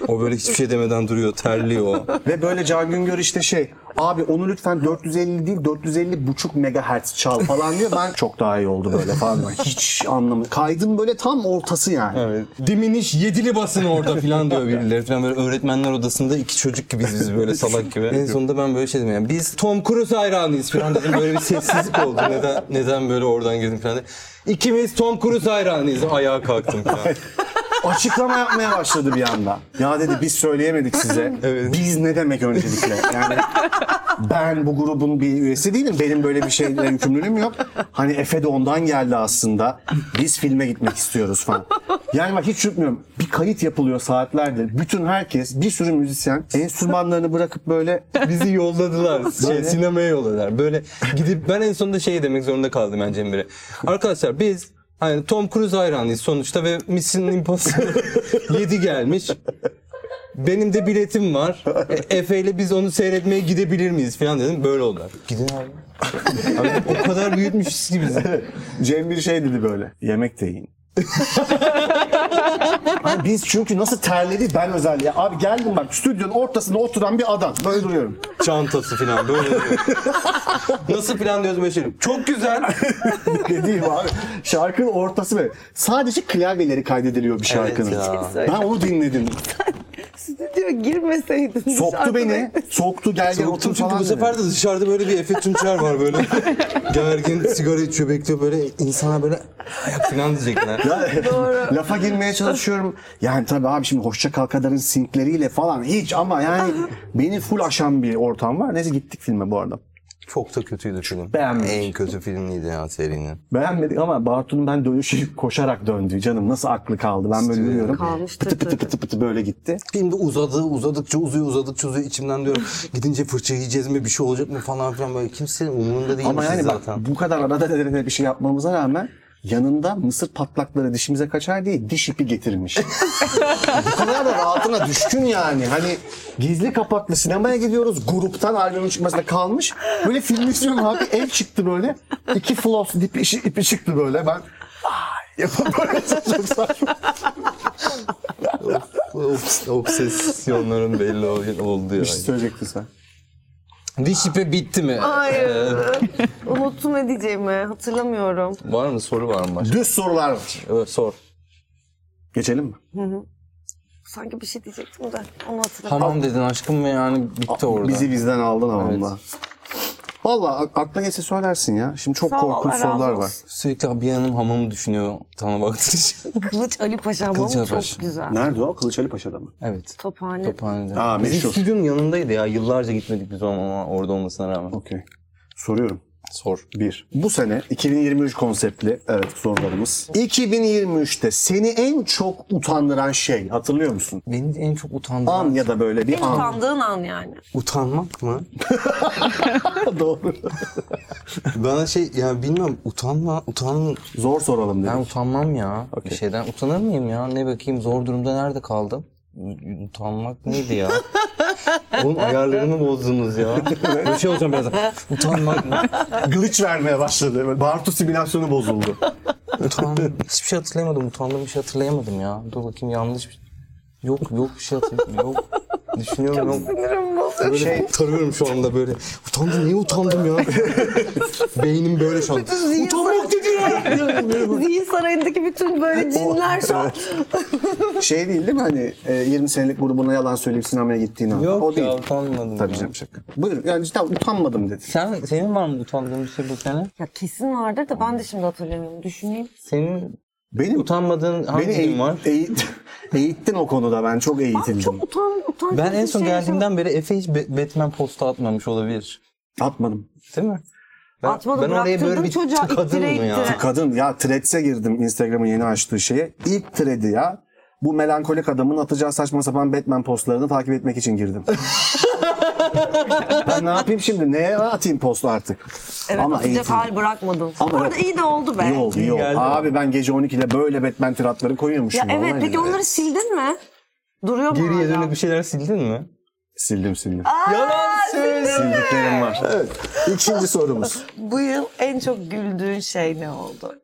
S4: O böyle hiçbir şey demeden duruyor, terliyor.
S2: Ve böyle Can Güngör işte şey abi onu lütfen 450 değil 450 buçuk megahertz çal falan diyor. Ben çok daha iyi oldu böyle falan. [LAUGHS] Hiç anlamı. Kaydın böyle tam ortası yani.
S4: Evet. Diminiş yedili basın orada filan [LAUGHS] diyor birileri filan böyle öğretmenler odasında iki çocuk gibiyiz biz [LAUGHS] böyle salak gibi. en sonunda ben böyle şey dedim yani biz Tom Cruise hayranıyız filan dedim böyle bir sessizlik oldu. Neden neden böyle oradan girdim filan. dedim. İkimiz Tom Cruise hayranıyız ayağa kalktım filan.
S2: açıklama yapmaya başladı bir anda. Ya dedi biz söyleyemedik size. Biz ne demek öncelikle? Yani ben bu grubun bir üyesi değilim. Benim böyle bir şeyle yükümlülüğüm yok. Hani Efe de ondan geldi aslında. Biz filme gitmek istiyoruz falan. Yani bak hiç unutmuyorum. Bir kayıt yapılıyor saatlerdir. Bütün herkes, bir sürü müzisyen enstrümanlarını bırakıp böyle
S4: Bizi yolladılar. Şey,
S2: Böyle.
S4: sinemaya yolladılar. Böyle gidip ben en sonunda şey demek zorunda kaldım ben Cemre. Arkadaşlar biz hani Tom Cruise hayranıyız sonuçta ve Mission Impossible [LAUGHS] 7 gelmiş. Benim de biletim var. E, Efe ile biz onu seyretmeye gidebilir miyiz falan dedim. Böyle oldular. Gidin abi. Abi o kadar büyütmüşüz ki bizi.
S2: Cem bir şey dedi böyle. Yemek de yiyin. [LAUGHS] Abi biz çünkü nasıl terledi ben özelliğe. Abi geldim bak stüdyonun ortasında oturan bir adam. Böyle duruyorum. [LAUGHS]
S4: Çantası falan böyle. duruyor. Nasıl plan diyoruz böyle şey. Çok güzel.
S2: Dediğim abi şarkının ortası böyle. Sadece klavyeleri kaydediliyor bir şey şarkının.
S4: ya.
S2: ben onu [LAUGHS] dinledim.
S3: Diyor girmeseydin.
S2: Soktu
S3: şarkı
S2: beni. Soktu gel gel otur
S4: Unuttum çünkü
S2: falan
S4: bu
S2: dedi.
S4: sefer de dışarıda böyle bir Efe Tunçer var böyle. [LAUGHS] Gergin sigara içiyor bekliyor böyle insana böyle ayak falan diyecekler.
S2: [LAUGHS] Doğru. Lafa girmeye çalışıyorum. Yani tabii abi şimdi hoşça kal kadarın sinkleriyle falan hiç ama yani beni full aşan bir ortam var. Neyse gittik filme bu arada.
S4: Çok da kötüydü film.
S2: Beğenmedim.
S4: En kötü filmiydi ya serinin.
S2: Beğenmedik ama Bartu'nun ben dönüşü koşarak döndü. Canım nasıl aklı kaldı ben böyle yürüyorum.
S5: Kalmıştır
S2: Pıtı pıtı
S5: tabii.
S2: pıtı pıtı böyle gitti.
S4: Film de uzadı, uzadıkça uzuyor, uzadıkça uzuyor. İçimden diyorum gidince fırça yiyeceğiz mi, bir şey olacak mı falan filan böyle. Kimsenin umurunda değil
S2: Ama yani
S4: zaten.
S2: bak bu kadar arada derede bir şey yapmamıza rağmen yanında mısır patlakları dişimize kaçar diye diş ipi getirmiş. [LAUGHS] bu kadar da rahatına düşkün yani. Hani gizli kapaklı sinemaya gidiyoruz. Gruptan albümün çıkmasına kalmış. Böyle film izliyorum abi. El çıktı böyle. İki floss ipi, ipi çıktı böyle. Ben ay yapıp böyle çok saçma.
S4: Obs- Obsesyonların belli ol- oldu ya.
S2: Bir şey söyleyecektin sen.
S4: Diş ipi bitti mi?
S3: Hayır. Unuttum ne diyeceğimi. Hatırlamıyorum.
S4: Var mı soru var mı başka?
S2: Düz sorular var.
S4: Evet sor.
S2: Geçelim mi?
S3: Sanki bir şey diyecektim de onu hatırlamıyorum.
S4: Tamam dedin aşkım ve yani bitti orada.
S2: Bizi bizden aldın ama valla. Valla a- aklına geçse söylersin ya. Şimdi çok
S3: Sağ ol,
S2: korkunç
S3: Allah razı
S2: sorular
S3: olsun.
S2: var.
S4: Sürekli bir hanım hamamı düşünüyor tanı baktığı için. [LAUGHS]
S3: [LAUGHS] Kılıç Ali Paşa ama
S4: Kılıç Ali
S3: çok
S4: Paşa.
S3: güzel.
S2: Nerede o? Kılıç Ali Paşa'da mı?
S4: evet.
S3: Tophane.
S4: Tophane'de.
S2: Aa,
S4: Bizim
S2: meşhur.
S4: stüdyonun yanındaydı ya. Yıllarca gitmedik biz ama orada olmasına rağmen.
S2: Okey. Soruyorum.
S4: Sor.
S2: Bir. Bu sene 2023 konseptli evet sorularımız. 2023'te seni en çok utandıran şey hatırlıyor musun?
S4: Beni en çok utandıran...
S2: An ya da böyle bir an.
S3: Utandığın an yani.
S4: Utanmak mı?
S2: [LAUGHS] Doğru.
S4: Bana şey yani bilmiyorum utanma, utan...
S2: Zor soralım
S4: Ben
S2: dedim.
S4: utanmam ya. Bir şeyden utanır mıyım ya? Ne bakayım zor durumda nerede kaldım? U- Utanmak
S2: [LAUGHS]
S4: neydi ya? Oğlum ayarlarımı bozdunuz ya. Bir şey olacağım birazdan. Utanmak mı?
S2: Glitch vermeye başladı. Böyle Bartu simülasyonu
S4: [LAUGHS]
S2: bozuldu.
S4: Utandım. Hiçbir şey hatırlayamadım. Utandığım bir şey hatırlayamadım ya. Dur bakayım yanlış bir... Yok yok bir şey hatırlayamadım. Yok. Düşünüyorum yok. Böyle şey tarıyorum şu anda böyle. Utandım niye utandım ya? Beynim böyle şu an. Utanmak dedi ya.
S3: [LAUGHS] Zihin sarayındaki bütün böyle cinler şu an.
S2: şey değil değil mi hani e, 20 senelik grubuna yalan söyleyip sinemaya gittiğin an.
S4: yok
S2: o değil.
S4: ya utanmadım.
S2: Tabii
S4: ya.
S2: canım şaka. Buyur yani cidden utanmadım dedi.
S4: Sen, senin var mı utandığın bir şey bu sene?
S5: Ya kesin vardır da ben de şimdi hatırlamıyorum. Düşüneyim.
S4: Senin
S2: Benim
S4: utanmadığın hangi
S2: beni e-
S4: gün
S2: eğ-
S4: var?
S2: eğit- [LAUGHS] eğittin o konuda ben çok eğitildim.
S5: Çok utan, utan.
S4: Ben en
S5: şey
S3: şey
S4: son geldiğimden beri Efe hiç Be- Batman posta atmamış olabilir.
S2: Atmadım.
S4: Değil mi? Ben,
S5: Atmadım, bıraktırdın çocuğa, ittire
S4: tıkadım
S5: ittire.
S2: Kadın ya Threads'e girdim Instagram'ın yeni açtığı şeye. İlk thread'i ya bu melankolik adamın atacağı saçma sapan Batman postlarını takip etmek için girdim. ben ne yapayım şimdi? Neye atayım postu artık?
S3: Evet,
S2: Ama
S3: atacak
S2: eğitim.
S3: hal bırakmadın.
S2: Ama
S3: Orada
S2: evet.
S3: iyi de oldu be.
S2: İyi oldu, iyi oldu.
S4: geldi.
S2: Abi ben gece 12'de böyle Batman tiratları koyuyormuşum.
S3: Ya evet
S2: vallahi
S3: peki
S2: billahi.
S3: onları sildin mi? Duruyor mu
S4: Geriye
S3: hala?
S4: dönüp bir şeyler sildin mi?
S2: Sildim sildim.
S4: Yalan söyle.
S2: Sildiklerim var. Evet. İkinci sorumuz.
S3: Bu yıl en çok güldüğün şey ne oldu?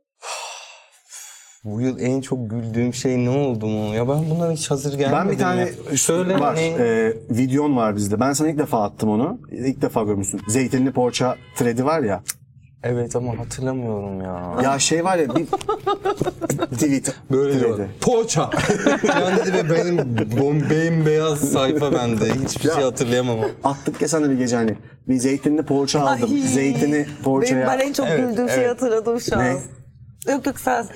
S4: Bu yıl en çok güldüğüm şey ne oldu mu? Ya ben bunlara hiç hazır gelmedim.
S2: Ben bir tane
S4: ya. söyle
S2: var.
S4: ne?
S2: e, videon var bizde. Ben sana ilk defa attım onu. İlk defa görmüşsün. Zeytinli poğaça thread'i var ya.
S4: Evet ama hatırlamıyorum ya.
S2: Ya şey var [LAUGHS] ya bir tweet
S4: Böyle
S2: thread'i.
S4: diyorlar. [LAUGHS] Poğaça. yani dedi ve benim bombeyin beyaz sayfa bende. Hiçbir şey hatırlayamam.
S2: Attık ya sana bir gece hani. Bir zeytinli poğaça aldım.
S3: Ay.
S2: Zeytini
S3: Benim,
S2: poğaçaya.
S3: ben en çok güldüğüm şeyi hatırladım şu an.
S2: Ne?
S3: Yok yok sen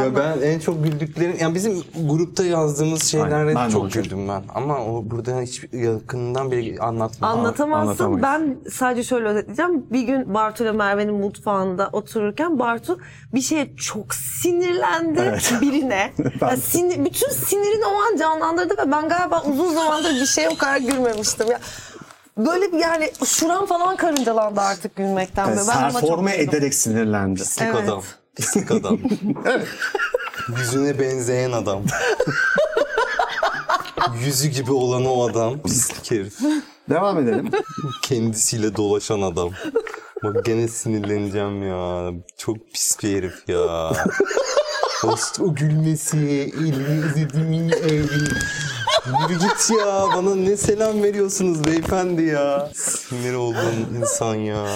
S4: Ya ben en çok güldüklerim, yani bizim grupta yazdığımız
S2: Aynen,
S4: şeylere
S2: ben de
S4: çok
S2: olacağım.
S4: güldüm ben. Ama o burada hiç yakından bile anlatmam.
S3: Anlatamazsın.
S2: Anlatamayız.
S3: Ben sadece şöyle özetleyeceğim. Bir gün Bartu ile Merve'nin mutfağında otururken Bartu bir şeye çok sinirlendi
S2: Evet. [LAUGHS]
S3: birine.
S2: Ben-
S3: Ya sinir- bütün sinirini o an canlandırdı ve ben galiba uzun zamandır bir şeye o kadar gülmemiştim ya. Böyle bir yani şuram falan karıncalandı artık gülmekten.
S2: Yani
S3: böyle. ben ama çok
S2: performe
S3: güldüm.
S2: e, ederek sinirlendi.
S4: Pislik
S3: Evet.
S4: adam.
S3: [LAUGHS]
S4: Pislik adam. Yüzüne benzeyen adam. Yüzü gibi olan o adam. Pislik herif.
S2: Devam edelim.
S4: Kendisiyle dolaşan adam. Bak gene sinirleneceğim ya. Çok pis bir herif ya. o, o gülmesi, elini izlediğimin evi. Yürü git ya. Bana ne selam veriyorsunuz beyefendi ya. Sinir olduğum insan ya.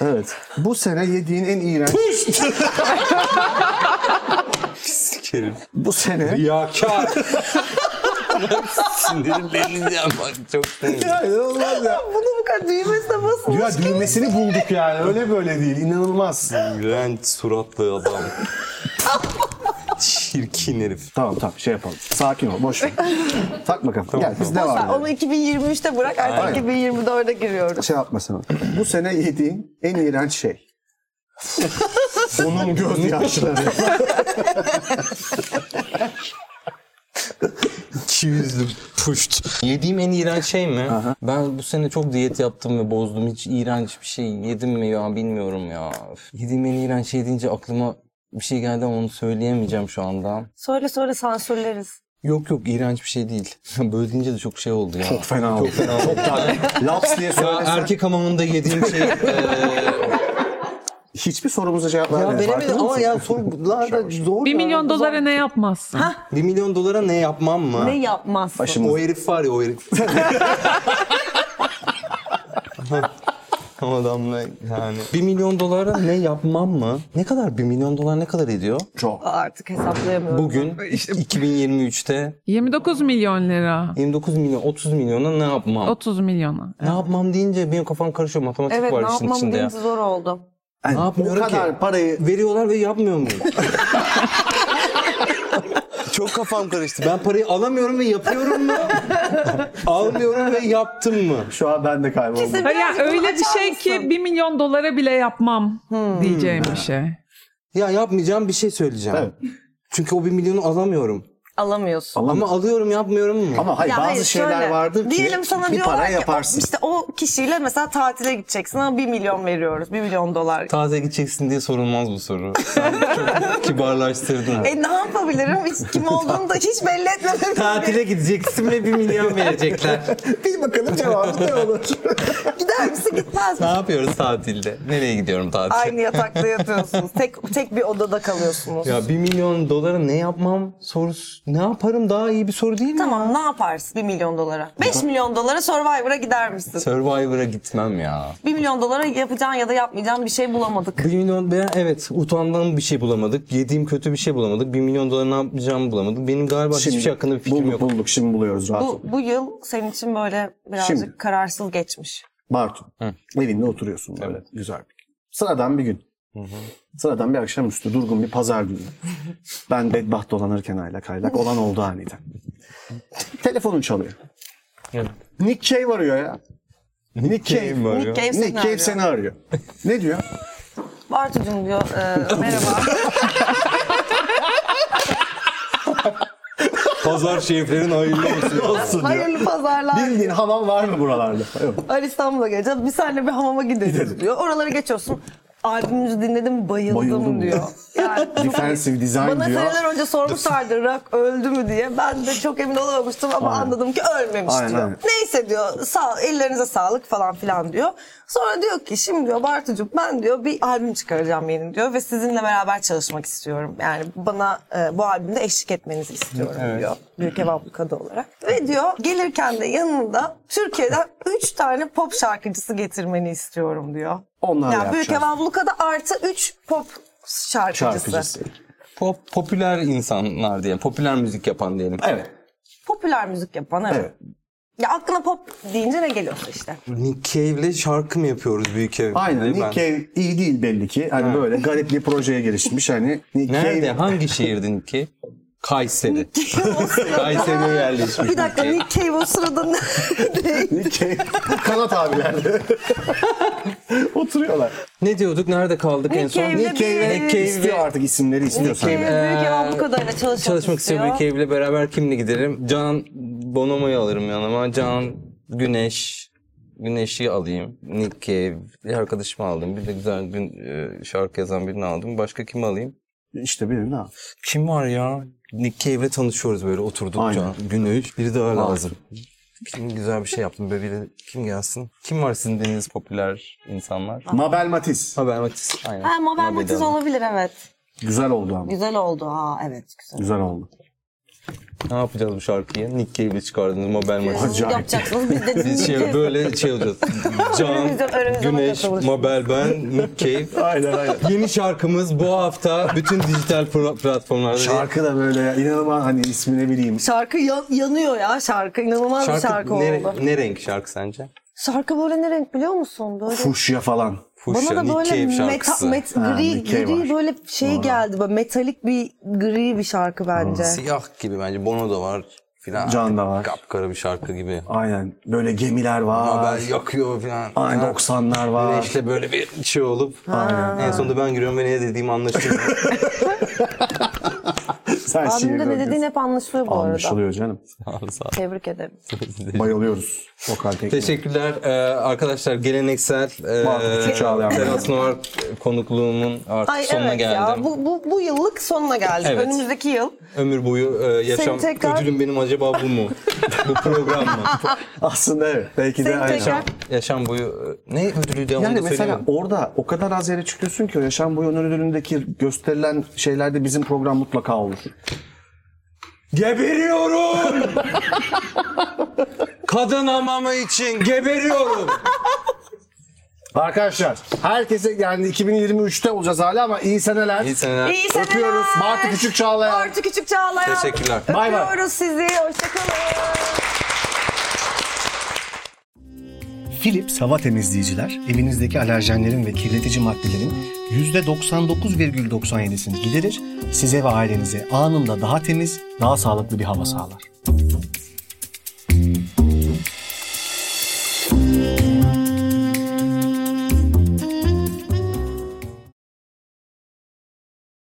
S2: Evet. Bu sene yediğin en iğrenç...
S4: Pislik herif.
S2: Bu sene...
S4: Riyakar. Sinirleneceğim bak çok sinirlendim.
S2: Ya inanılmaz ya.
S3: Bunu bu kadar düğmesine basın.
S2: [LAUGHS] Ya düğmesini bulduk yani. Öyle böyle değil. İnanılmaz.
S4: İğrenç suratlı adam. Çirkin herif.
S2: Tamam tamam şey yapalım. Sakin ol. Boş [LAUGHS] ver. Takma kafanı. Gel biz devam edelim.
S3: Onu 2023'te bırak artık
S2: Aynen.
S3: 2024'e giriyoruz.
S2: Şey yapma sen. Bu sene yediğin en iğrenç şey. Onun göz yaşları.
S4: 200'lü puşt. Yediğim en iğrenç şey mi? Ben bu sene çok diyet yaptım ve bozdum. Hiç iğrenç bir şey yedim mi ya bilmiyorum ya. Üf. Yediğim en iğrenç şey deyince aklıma bir şey geldi ama onu söyleyemeyeceğim şu anda.
S3: Söyle söyle sansürleriz.
S4: Yok yok iğrenç bir şey değil. [LAUGHS] Böyle deyince de çok şey oldu ya.
S2: Çok fena oldu. er- Çok tane. Laps diye
S4: Ya
S2: söylesen.
S4: erkek hamamında yediğim şey eee,
S2: Hiçbir sorumuza cevap
S4: Ya
S2: vermedi.
S4: veremedim ama ya sorular da zor.
S6: Bir
S4: ya.
S6: milyon dolara ne yapmazsın?
S4: Bir milyon dolara ne yapmam mı?
S3: Ne yapmazsın?
S2: Başımız.
S4: O herif var ya o [LAUGHS] herif. O adamla yani. Bir milyon dolara ne yapmam mı? Ne kadar? Bir milyon dolar ne kadar ediyor?
S2: Çok.
S3: Artık hesaplayamıyorum.
S4: Bugün 2023'te
S6: 29 milyon lira.
S4: 29 milyon 30 milyona ne yapmam?
S6: 30 milyona.
S4: Ne yapmam deyince benim kafam karışıyor. Matematik
S3: Evet ne
S4: var işin
S3: yapmam
S4: içinde ya.
S3: deyince zor oldu.
S2: Yani
S4: Ne
S2: o
S4: yapmıyorum
S2: kadar
S4: ki?
S2: parayı
S4: Veriyorlar ve yapmıyor
S3: [LAUGHS]
S4: muyum? Çok kafam karıştı. Ben parayı alamıyorum ve yapıyorum mu?
S3: [LAUGHS]
S4: Almıyorum ve yaptım mı?
S2: şu an ben de kayboldum.
S3: Kesin
S6: Ha, ya
S3: birazcık
S6: öyle bir
S3: açar
S6: şey ki
S3: mısın?
S6: 1 milyon dolara bile yapmam diyeceğim bir şey.
S4: Ya yapmayacağım bir şey söyleyeceğim.
S2: Evet.
S4: Çünkü o bir milyonu alamıyorum.
S3: alamıyorsun.
S2: Ama,
S4: Ama alıyorum yapmıyorum mu?
S2: ama hayır
S3: Ya
S2: bazı
S3: hayır,
S2: şeyler
S3: şöyle,
S2: vardır ki
S3: diyelim sana
S2: bir para
S3: diyorlar ki, [LAUGHS]
S2: yaparsın.
S3: İşte o kişiyle mesela tatile gideceksin ama 1 milyon veriyoruz. 1 milyon dolar.
S4: Taze gideceksin diye sorulmaz bu soru. Sen
S3: [LAUGHS]
S4: çok kibarlaştırdın.
S3: E ne yapabilirim? Hiç kim olduğunu da hiç belli etmedim.
S4: Tatile gideceksin ve bir milyon verecekler.
S2: Bil bakalım cevabı ne olur.
S3: Gider misin gitmez
S4: ne
S3: misin?
S4: yapıyoruz tatilde? Nereye gidiyorum tatile?
S3: Aynı yatakta yatıyorsunuz. Tek tek bir odada kalıyorsunuz.
S4: Ya bir milyon dolara ne yapmam sorusu. Ne yaparım daha iyi bir soru değil mi?
S3: Tamam ne yaparsın 1 milyon dolara? 5 milyon dolara Survivor'a gider misin?
S4: Survivor'a gitmem ya.
S3: 1 milyon dolara yapacağın ya da yapmayacağın bir şey bulamadık.
S4: Bir milyon ben evet utandığım bir şey bulamadık. Yediğim kötü bir şey bulamadık. Bir milyon dolar ne yapacağımı bulamadık. Benim galiba hiçbir şey hakkında bir fikrim
S2: bulduk,
S4: yok.
S2: Bulduk şimdi buluyoruz rahat ol.
S3: Bu, bu yıl senin için böyle birazcık
S2: Şimdi.
S3: kararsız geçmiş.
S2: Bartu evinde oturuyorsun böyle güzel bir gün. Sıradan bir gün. Sıradan bir akşamüstü durgun bir pazar
S4: [LAUGHS]
S2: günü. ben bedbaht dolanırken aylak aylak olan oldu aniden. Telefonun çalıyor.
S4: Evet.
S2: Nick Cave arıyor ya. Nick Cave.
S4: var
S3: Nick
S4: ya.
S3: Cave
S2: Nick
S3: seni
S2: Cave
S3: arıyor.
S2: seni arıyor. Ne
S3: [LAUGHS]
S2: diyor?
S3: Bartucuğum diyor
S2: [LAUGHS]
S3: e, merhaba.
S4: Pazar şeflerin hayırlı olsun. olsun diyor.
S3: Hayırlı pazarlar.
S2: Bildiğin hamam var mı buralarda? Yok.
S3: Ali İstanbul'a geleceğiz. Bir seninle bir hamama gideriz diyor. Oraları geçiyorsun. Albümümüzü dinledim bayıldım,
S2: Bayıldım
S3: diyor.
S2: [LAUGHS]
S3: Yani çok-
S2: Defensive design
S3: bana
S2: diyor.
S3: seneler
S2: [LAUGHS]
S3: önce sormuşlardı rock öldü mü diye. Ben de çok emin olamamıştım ama
S2: Aynen.
S3: anladım ki ölmemiş
S2: Aynen,
S3: diyor.
S2: aynen.
S3: Neyse diyor sağ ellerinize sağlık falan filan diyor. Sonra diyor ki şimdi diyor Bartucuğum ben diyor bir albüm çıkaracağım yeni diyor ve sizinle beraber çalışmak istiyorum. Yani bana e, bu albümde eşlik etmenizi istiyorum diyor. Büyük ev ablukada olarak. Ve diyor gelirken de yanında Türkiye'den 3 tane pop şarkıcısı getirmeni istiyorum diyor.
S2: Onlar
S3: yani Büyük ev
S2: yapacağız.
S3: ablukada artı 3 pop şarkıcısı.
S2: Şarkıcısı.
S4: Pop, popüler insanlar diyelim. Popüler müzik yapan diyelim.
S2: Evet.
S3: popüler müzik yapan evet.
S2: Evet.
S3: Ya aklına pop deyince ne geliyorsa işte.
S4: Nick Cave'le şarkı mı yapıyoruz büyük evde?
S2: Aynen.
S4: Ben-
S2: Nick Cave iyi değil belli ki. Hani böyle garip bir projeye girişmiş. Hani Nick
S4: Nerede?
S2: Cave-
S4: Hangi şehirdi Nick Cave? Kayseri. Kayseri'ye yerleşmiş.
S3: Bir dakika
S4: Nick Cave.
S3: Nick Cave o sırada ne-
S2: Nick Cave. Kanat abilerde. [LAUGHS] Oturuyorlar.
S4: Ne diyorduk? Nerede kaldık en son?
S3: Cave'le
S2: Nick Cave
S4: Nick Cave
S2: istiyor
S4: ve-
S2: artık isimleri istiyor sanki.
S3: büyük ev bu kadarıyla çalışmak,
S4: Ee, Çalışmak istiyor
S3: istiyor.
S4: Büyük Cave'le beraber kimle giderim? Can Bonomo'yu alırım yanıma. Can Güneş. Güneş'i alayım. Nick Cave. Bir arkadaşımı aldım. Bir de güzel gün e, şarkı yazan birini aldım. Başka kimi alayım?
S2: İşte birini al.
S4: Kim var ya? Nick Cave'le tanışıyoruz böyle oturduk.
S2: Aynen.
S4: Can, Güneş. Biri daha lazım. Kim güzel bir şey yaptım böyle biri. Kim gelsin? Kim var sizin dediğiniz popüler insanlar?
S2: Mabel Matiz.
S4: Haber Matiz. Aynen.
S3: Ha, Mabel
S4: Mabel
S3: Matiz
S4: Hanım.
S3: olabilir evet.
S2: Güzel oldu ama.
S3: Güzel oldu ha evet güzel.
S2: Güzel oldu.
S4: Ne yapacağız bu şarkıyı? Nick Cave'le çıkardınız Mabel Matiz.
S3: Siz
S2: Acayip. [LAUGHS]
S3: yapacaksınız biz de
S4: Biz şey böyle şey olacağız.
S3: [LAUGHS]
S4: Can,
S3: Önümüzde- önümüzde
S4: Güneş,
S3: bakıyoruz.
S4: Mabel ben, Nick Cave.
S2: Aynen aynen.
S4: Yeni şarkımız bu hafta bütün dijital pro- platformlarda.
S2: Şarkı da böyle inanılmaz hani ismi ne bileyim.
S3: Şarkı ya- yanıyor ya şarkı inanılmaz bir şarkı
S4: ne,
S3: oldu.
S4: ne renk şarkı sence?
S5: Şarkı böyle ne renk biliyor musun? Böyle
S2: Fuşya falan.
S4: Fuşya,
S5: Bana da
S4: Nick
S5: böyle
S4: Cave
S5: meta,
S4: şarkısı.
S5: met,
S2: Ha,
S5: gri,
S2: Nick Cave var.
S5: gri böyle şey geldi. Böyle metalik bir gri bir şarkı bence.
S4: Siyah gibi bence. Bono da var filan.
S2: Can da var.
S4: Kapkara bir şarkı gibi.
S2: Aynen. Böyle gemiler var.
S4: Mabel yakıyor filan.
S2: Aynen
S4: Ha.
S2: 90'lar var.
S4: Güneşle böyle bir şey olup. En sonunda ben giriyorum ve ne dediğim anlaşılıyor. [LAUGHS]
S2: Sen
S5: Abim
S2: şiirde
S5: de ne dediğin
S2: okuyorsun.
S5: hep anlaşılıyor bu arada.
S2: Anlaşılıyor canım.
S5: Tebrik ederim.
S2: Bayılıyoruz. Vokal tekniği.
S4: Teşekkürler Ee, arkadaşlar geleneksel
S2: Mahmut
S4: e,
S2: Çağlayan.
S4: Teras Noir konukluğumun artık
S3: Ay
S4: sonuna
S3: evet
S4: geldim.
S3: ya bu, bu, bu yıllık sonuna geldik.
S4: Evet.
S3: Önümüzdeki yıl.
S4: Ömür boyu e, yaşam
S3: Seni tekrar-
S4: ödülüm benim acaba bu
S3: [LAUGHS]
S4: mu? bu program mı?
S2: Aslında evet. Belki de
S3: Seni
S2: aynen.
S3: tekrar-
S4: yaşam boyu e, ne ödülüydü onu
S2: Yani
S4: da
S2: mesela
S4: söyleyeyim.
S2: orada o kadar az yere çıkıyorsun ki o yaşam boyu onur ödülündeki gösterilen şeylerde bizim program mutlaka olur.
S4: Geberiyorum! [LAUGHS] Kadın hamamı
S3: [LAUGHS]
S4: için geberiyorum!
S2: Arkadaşlar herkese yani 2023'te olacağız hala ama iyi seneler.
S4: İyi seneler.
S3: İyi seneler.
S2: Öpüyoruz. Martı Küçük Çağlayan.
S3: Martı Küçük Çağlayan.
S4: Teşekkürler.
S2: Bay bay.
S3: Öpüyoruz sizi. Hoşçakalın.
S2: Philips hava temizleyiciler evinizdeki alerjenlerin ve kirletici maddelerin %99,97'sini giderir, size ve ailenize anında daha temiz, daha sağlıklı bir hava sağlar.